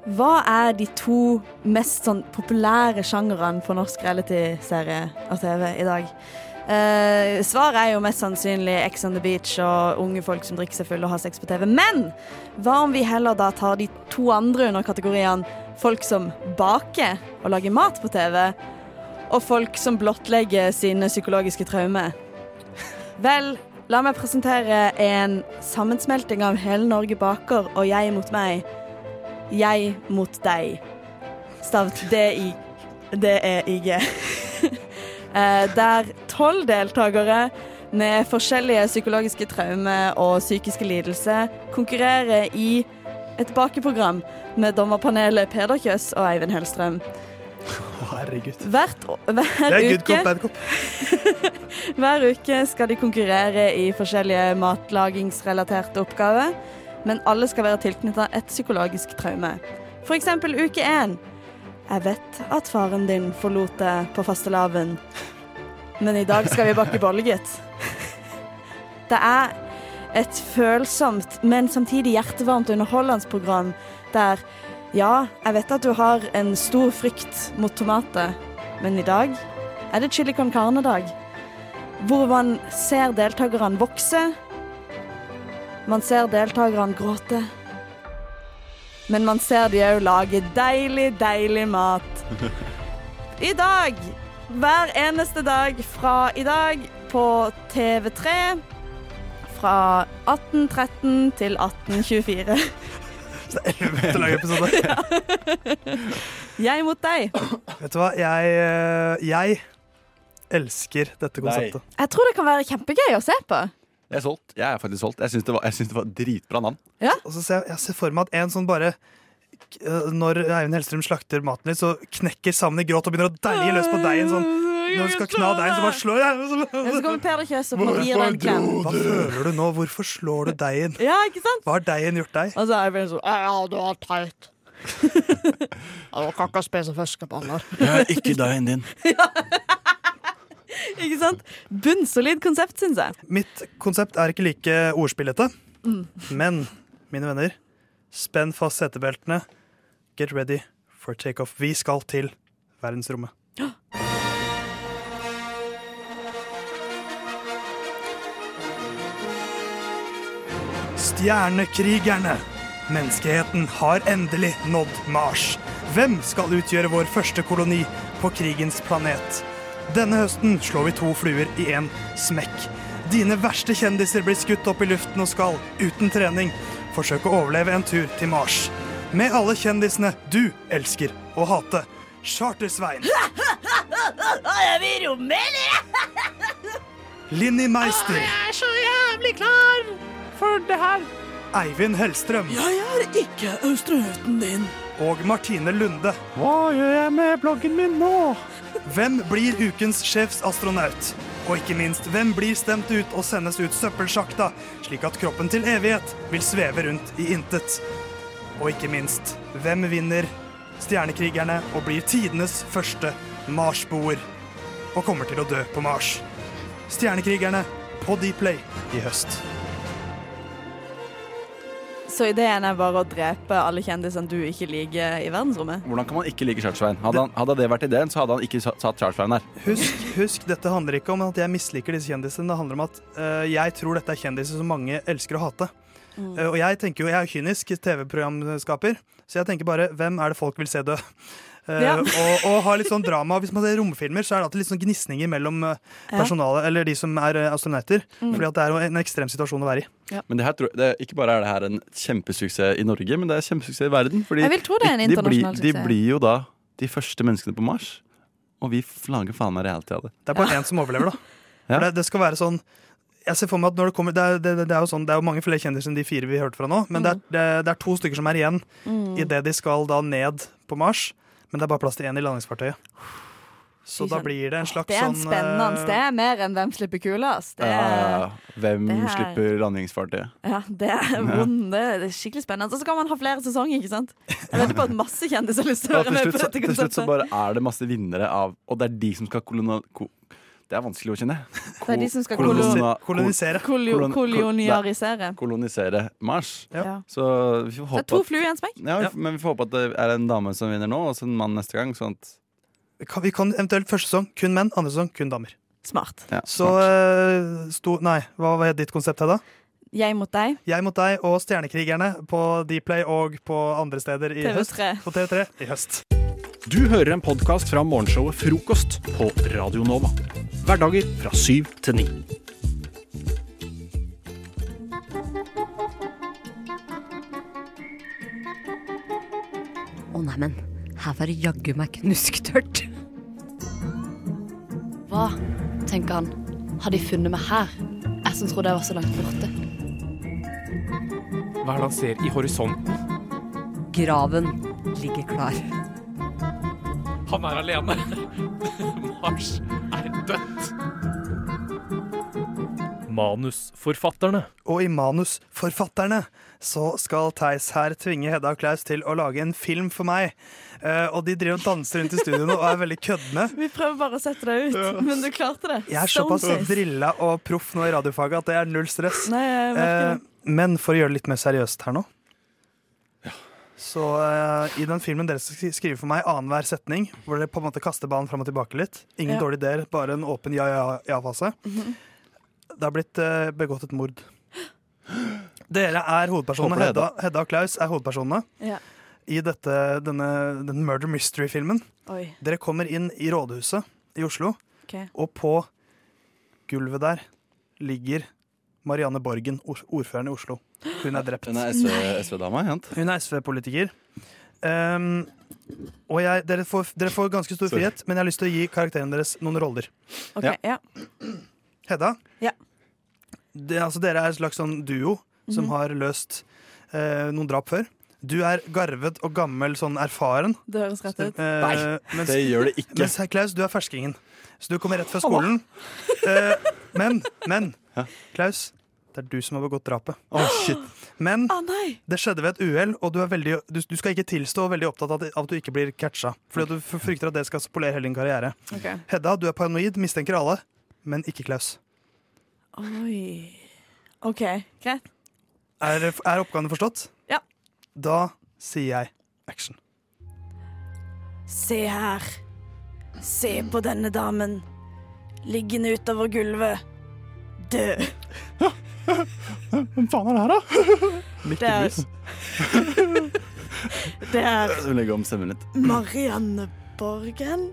S11: Hva er de to mest sånn populære sjangerne for norsk reality-serie og TV i dag? Eh, svaret er jo mest sannsynlig Ex on the Beach og unge folk som drikker seg fulle og har sex på TV. Men hva om vi heller da tar de to andre under kategoriene folk som baker og lager mat på TV, og folk som blottlegger sine psykologiske traumer? Vel, la meg presentere en sammensmelting av hele Norge baker og jeg mot meg. Jeg mot deg. Stavt D-I. D-E-I-G. E Eh, Der tolv deltakere med forskjellige psykologiske traumer og psykiske lidelser konkurrerer i et bakeprogram med dommerpanelet Peder Kjøs og Eivind Hellstrøm.
S14: Herregud.
S11: Hvert, å- hver
S14: Det er good
S11: uke
S14: cop, bad cop.
S11: hver uke skal de konkurrere i forskjellige matlagingsrelaterte oppgaver, men alle skal være tilknyttet et psykologisk traume. For eksempel uke 1. Jeg vet at faren din forlot deg på fastelavn, men i dag skal vi bakke bolle, gitt. Det er et følsomt, men samtidig hjertevarmt underholdende program der ja, jeg vet at du har en stor frykt mot tomater, men i dag er det chili con carne-dag hvor man ser deltakerne vokse. Man ser deltakerne gråte. Men man ser de òg lage deilig, deilig mat. I dag, hver eneste dag fra i dag på TV3 fra 1813 til 1824.
S14: Til å lage episode.
S11: Jeg mot deg.
S14: Vet du hva, jeg, eh, jeg elsker dette konseptet.
S11: Jeg tror det kan være kjempegøy å se på.
S9: Jeg er solgt. Jeg er faktisk solgt. Jeg syns det, var- jeg syns det var et dritbra navn.
S14: Og så ser jeg, jeg ser for meg at en sånn bare k- eh, Når Eivind Hellstrøm slakter maten litt, så knekker sammen i gråt og begynner å deige løs på deigen. Sånn, når hun skal kna deigen, så bare slår jeg.
S11: Men så kommer Peder Kjøs opp og
S14: Hvorfor
S11: gir deg en klem.
S14: Hva føler du nå? Hvorfor slår du deigen?
S11: Ja, ikke sant?
S14: Hva har deigen gjort deg?
S11: Og så er Eivind sånn Ja, du er teit.
S13: Jeg kan ikke spise fiskeballer.
S9: Jeg er ikke deigen din.
S11: Ikke sant? Bunnsolid konsept, syns jeg.
S14: Mitt konsept er ikke like ordspillete,
S11: Mm.
S14: men mine venner, spenn fast setebeltene. Get ready for takeoff. Vi skal til verdensrommet. Stjernekrigerne! Menneskeheten har endelig nådd Mars. Hvem skal utgjøre vår første koloni på krigens planet? Denne høsten slår vi to fluer i én smekk. Dine verste kjendiser blir skutt opp i luften og skal, uten trening, forsøke å overleve en tur til Mars. Med alle kjendisene du elsker å hate. Chartersvein,
S31: Er vi i rommet, eller?
S14: Linni Meister,
S31: Jeg er så jævlig klar for det her.
S14: Eivind Hellstrøm
S31: er ikke astronauten din.
S14: og Martine Lunde. Hva gjør jeg med bloggen min nå? Hvem blir ukens sjefsastronaut? Og ikke minst, hvem blir stemt ut og sendes ut søppelsjakta, slik at kroppen til evighet vil sveve rundt i intet? Og ikke minst, hvem vinner Stjernekrigerne og blir tidenes første Mars-boer? Og kommer til å dø på Mars. Stjernekrigerne på Dplay i høst.
S11: Så ideen er bare å drepe alle kjendisene du ikke liker i verdensrommet?
S9: Hvordan kan man ikke like Charlesvein? Hadde, han- hadde det vært ideen, så hadde han ikke sa- satt Charlesvein der.
S14: Husk, husk, dette handler ikke om at jeg misliker disse kjendisene. Det handler om at eh, jeg tror dette er kjendiser som mange elsker å hate.
S31: Mm.
S14: Eh, og jeg tenker jo, jeg er jo kynisk TV-programskaper, så jeg tenker bare hvem er det folk vil se dø? Eh,
S31: Ja.
S14: og, og ha litt sånn drama. Hvis man ser romfilmer, så er det alltid litt sånn gnisninger mellom eh,
S9: Ja.
S14: personalet, eller de som er eh, astronauter.
S9: Mm.
S14: Fordi at det er jo en ekstrem situasjon å være i.
S9: Men det her, tror- det, ikke bare er det her en kjempesuksess i Norge, men det er kjempesuksess i verden. Fordi
S11: Jeg vil tro det er en
S9: de- de blir-
S11: internasjonal
S9: De
S11: suksess.
S9: blir jo da de første menneskene på Mars, og vi lager faen meg reality av det.
S14: Det er bare én som overlever, da. For det, det skal være sånn jeg ser for meg at når Det kommer Det, er- det, det, det er jo sånn, det er jo mange flere kjendiser enn de fire vi hørte fra nå, men det, er, det, det er to stykker som er igjen
S11: Mm.
S14: idet de skal da ned på Mars. Men det er bare plass til én i landingsfartøyet. Så da
S11: Fy søren.
S14: blir det en slags
S11: Det er en
S14: sånn
S11: spennende Det er mer enn hvem slipper kula. ass. Det er,
S9: Ja, Hvem
S11: det er-
S9: slipper landingsfartøyet?
S11: ja, det er vond. Det er skikkelig spennende. Og så kan man ha flere sesonger, ikke sant? Jeg vet på at masse kjendiser har lyst til å være
S9: Og til
S11: med
S9: slutt,
S11: på dette
S9: så, til slutt
S11: konseptet.
S9: så bare er det masse vinnere av Og det er de som skal kolona... Ko, det er vanskelig å kjenne.
S11: Det er de som skal
S9: Kolona-
S14: kolonisere.
S11: Kolio-
S9: kolon- kol-
S11: kolonialisere.
S9: nei, Kolonisere Mars.
S11: Ja.
S9: Så vi får
S11: Det
S9: håpe
S11: er to
S9: at-
S11: fluer i en smekk.
S9: Ja, vi- men vi får håpe at det er en dame som vinner nå, og så en mann neste gang. Sånn at
S14: kan, Vi kan eventuelt første sesong kun menn, andre sesong kun damer.
S11: Smart.
S9: Ja,
S14: Så eh, sto Nei, hva var ditt konsept, Hedda?
S11: Jeg mot deg.
S14: Jeg mot deg og Stjernekrigerne på Dplay og på andre steder i høst.
S11: TV3.
S14: På TV3 i høst.
S1: Du hører en podkast fra morgenshowet Frokost på Radio Nova. Hverdager fra syv til ni.
S6: Å neimen, her var det jaggu meg knusktørt. Hva, tenker han, har de funnet meg her? Jeg som trodde jeg var så langt borte.
S13: Hva er det han ser i horisonten?
S6: Graven ligger klar.
S13: Han er alene. Mars er dødt.
S14: Manusforfatterne. Og i Manusforfatterne så skal Theis her tvinge Hedda og Klaus til å lage en film for meg. Eh, og de driver og danser rundt i studioene og er veldig køddende.
S11: Vi prøver bare å sette deg ut, men du klarte det.
S14: Jeg er
S11: Stone
S14: såpass
S11: face.
S14: drilla og proff nå i radiofaget at det er null stress.
S11: Nei, jeg merker det.
S14: Eh, men for å gjøre det litt mer seriøst her nå Så eh, i den filmen dere skal sk- skrive for meg annenhver setning, hvor dere på en måte kaster ballen fram og tilbake litt
S11: Ja.
S14: Ingen
S11: Mhm.
S14: dårlige ideer, bare en åpen ja-ja-ja-fase. Det har blitt eh, begått et mord. Dere er hovedpersonene.
S9: Håper det er
S14: Hedda, Hedda og Klaus er hovedpersonene
S11: Ja.
S14: i dette, denne, den murder mystery-filmen.
S11: Oi.
S14: Dere kommer inn i rådhuset i Oslo,
S11: Ok.
S14: og på gulvet der ligger Marianne Borgen, or- ordføreren i Oslo. Hun er drept.
S9: Hun er SV SV-dama, ikke sant?
S14: Hun er SV-politiker. Ehm, og jeg, dere, får, dere får ganske stor
S9: Sorry.
S14: frihet, men jeg har lyst til å gi karakterene deres noen roller.
S11: Ok, ja.
S14: Hedda,
S11: Ja.
S14: det, altså, dere er en slags sånn duo som
S11: Mhm.
S14: har løst eh, noen drap før. Du er garvet og gammel, sånn erfaren.
S11: Det høres rett ut.
S14: Eh, mens-
S9: det gjør det ikke.
S14: Mens Klaus, du er ferskingen. Så du kommer rett fra skolen. Eh, men, men Klaus, Det er du som har begått drapet. Men det skjedde ved et uhell, og du, er veldig, du, du skal ikke tilstå og er veldig opptatt av at, av at du ikke blir catcha. Fordi du f- frykter at det skal spolere hele din karriere.
S11: Ok.
S14: Hedda, du er paranoid, mistenker alle, men ikke Klaus.
S11: Oi. OK, greit.
S14: Er, er oppgavene forstått?
S11: Ja.
S14: Da sier jeg action.
S11: Se her. Se på denne damen. Liggende utover gulvet. Død.
S14: Hvem faen er det her, da?
S11: Det er, det er
S12: Legge om stemmen litt.
S11: Marianne Borgen.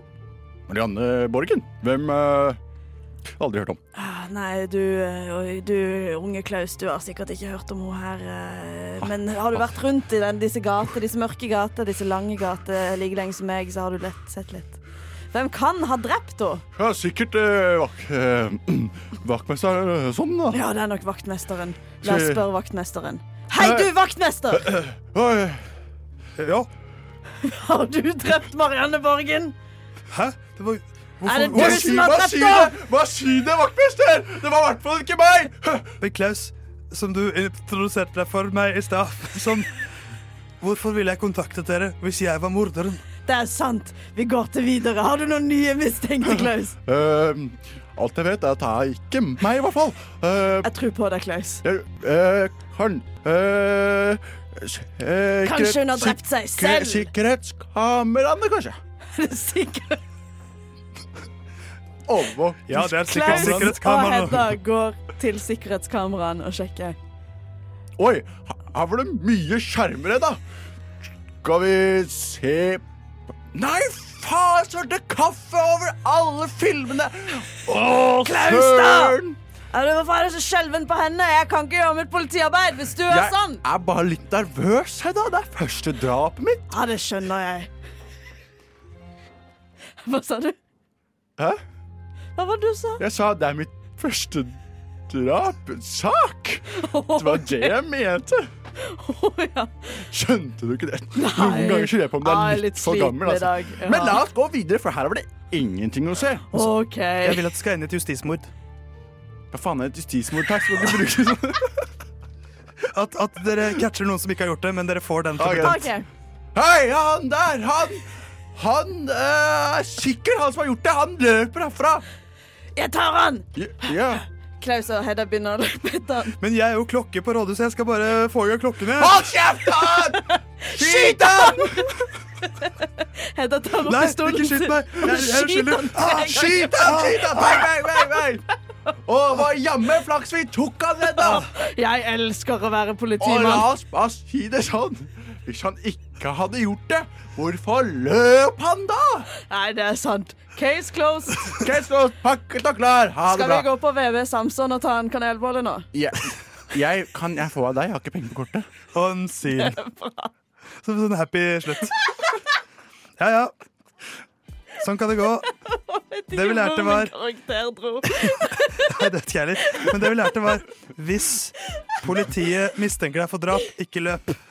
S12: Marianne Borgen. Hvem eh, Aldri hørt om.
S11: Ah, Nei, du, eh, du unge Klaus, du har sikkert ikke hørt om henne her. eh, Men har du vært rundt i den, disse gater, disse mørke gater, disse lange gater like lenge som meg, så har du lett sett litt. Hvem kan ha drept henne?
S12: Ja, sikkert eh, vak, eh, vaktmester eh, sånn, da.
S11: Ja, det er nok vaktmesteren. La oss
S12: Skal-
S11: spørre vaktmesteren. Hei, du, vaktmester!
S12: Oi.
S14: Ja.
S11: Har du drept Marianne Borgen?
S14: Hæ? Det var...
S11: Er det
S12: Hva
S11: du
S12: sier-
S11: som har
S12: hva
S11: drept
S12: sier
S11: henne?
S12: det? Hva sier det, vaktmester? Det var i hvert fall ikke meg!
S14: Men Klaus, som du introduserte deg for meg i stad, som Hvorfor ville jeg kontaktet dere hvis jeg var morderen?
S11: Det er sant. Vi går til videre. Har du noen nye mistenkte, Klaus?
S12: Eh, alt jeg vet, er at det er ikke meg, i hvert fall. Eh,
S11: jeg tror på deg, Klaus.
S12: han eh, s- eh,
S11: Kanskje hun har
S12: sikkerhet-
S11: drept seg
S12: sikkerhet-
S11: selv.
S12: Sikkerhetskameraene, kanskje.
S11: Er du sikker?
S12: Over.
S14: Ja, det er
S11: Klaus og Hedda
S12: sikkerhetskameraene.
S11: går til sikkerhetskameraene og sjekker.
S12: Oi, her var det mye skjermer, da. Skal vi se Nei, faen, svarte kaffe over alle filmene! Å,
S11: Klaus,
S12: søren!
S11: da! Er du, hvorfor er du så skjelven på henne? Jeg kan ikke gjøre mitt politiarbeid hvis du er
S12: Jeg
S11: sånn!
S12: er bare litt nervøs, Hedda. Det er første drapet mitt.
S11: Ja, det skjønner jeg. Hva sa du?
S12: Hæ?
S11: Hva var det du sa?
S12: Jeg sa det er mitt første drapsak. Det var det jeg mente. Skjønte du ikke det? Noen ganger skylder jeg på om det
S11: Ah,
S12: er
S11: litt
S12: litt for
S11: sliten
S12: gammel.
S11: i
S12: Altså.
S11: dag, ja.
S12: Men la oss gå videre, for her var det ingenting å se.
S11: OK.
S14: Jeg vil at det skal inn i et justismord.
S12: Hva faen er et justismord? Takk skal du bruke sånn.
S14: At, at dere catcher noen som ikke har gjort det, men dere får den til å bli dømt.
S12: Hei, han der, han Han eh, er sikkert han som har gjort det. Han løper herfra.
S11: Jeg tar han!
S12: Ja.
S11: Klaus og Hedda begynner å løpe etter han.
S14: Men jeg er jo klokke på rådhuset, jeg skal bare få i gang klokkene.
S12: Hold kjeft! han! Skyt han!
S11: Hedda tar opp
S14: Nei,
S11: pistolen
S14: ikke skyt meg! Jeg- jeg
S11: Skyt
S14: skylder.
S11: han!
S12: Ah, skyt han, skyt han! Nei, nei, nei, nei! Å, hva jammen flaks vi tok han den, da!
S11: Jeg elsker å være
S12: Og
S11: politimann.
S12: la oss bare si det sånn. Hvis han ikke hadde gjort det, hvorfor løp han da?
S11: Nei, det er sant. Case closed.
S12: Ok, så pakket og klar. Ha
S11: Skal
S12: det
S11: vi
S12: bra.
S11: gå på VV Samson og ta en kanelbolle nå?
S12: Ja. Jeg, kan jeg få av deg? Jeg har ikke penger på kortet.
S14: Og en sil. Så sånn happy slutt. Ja, ja. Sånn kan det gå. Det vi lærte var
S11: karakter dro.
S14: Nei, det vet ikke jeg heller. Men det vi lærte, var hvis politiet mistenker deg for drap, ikke løp.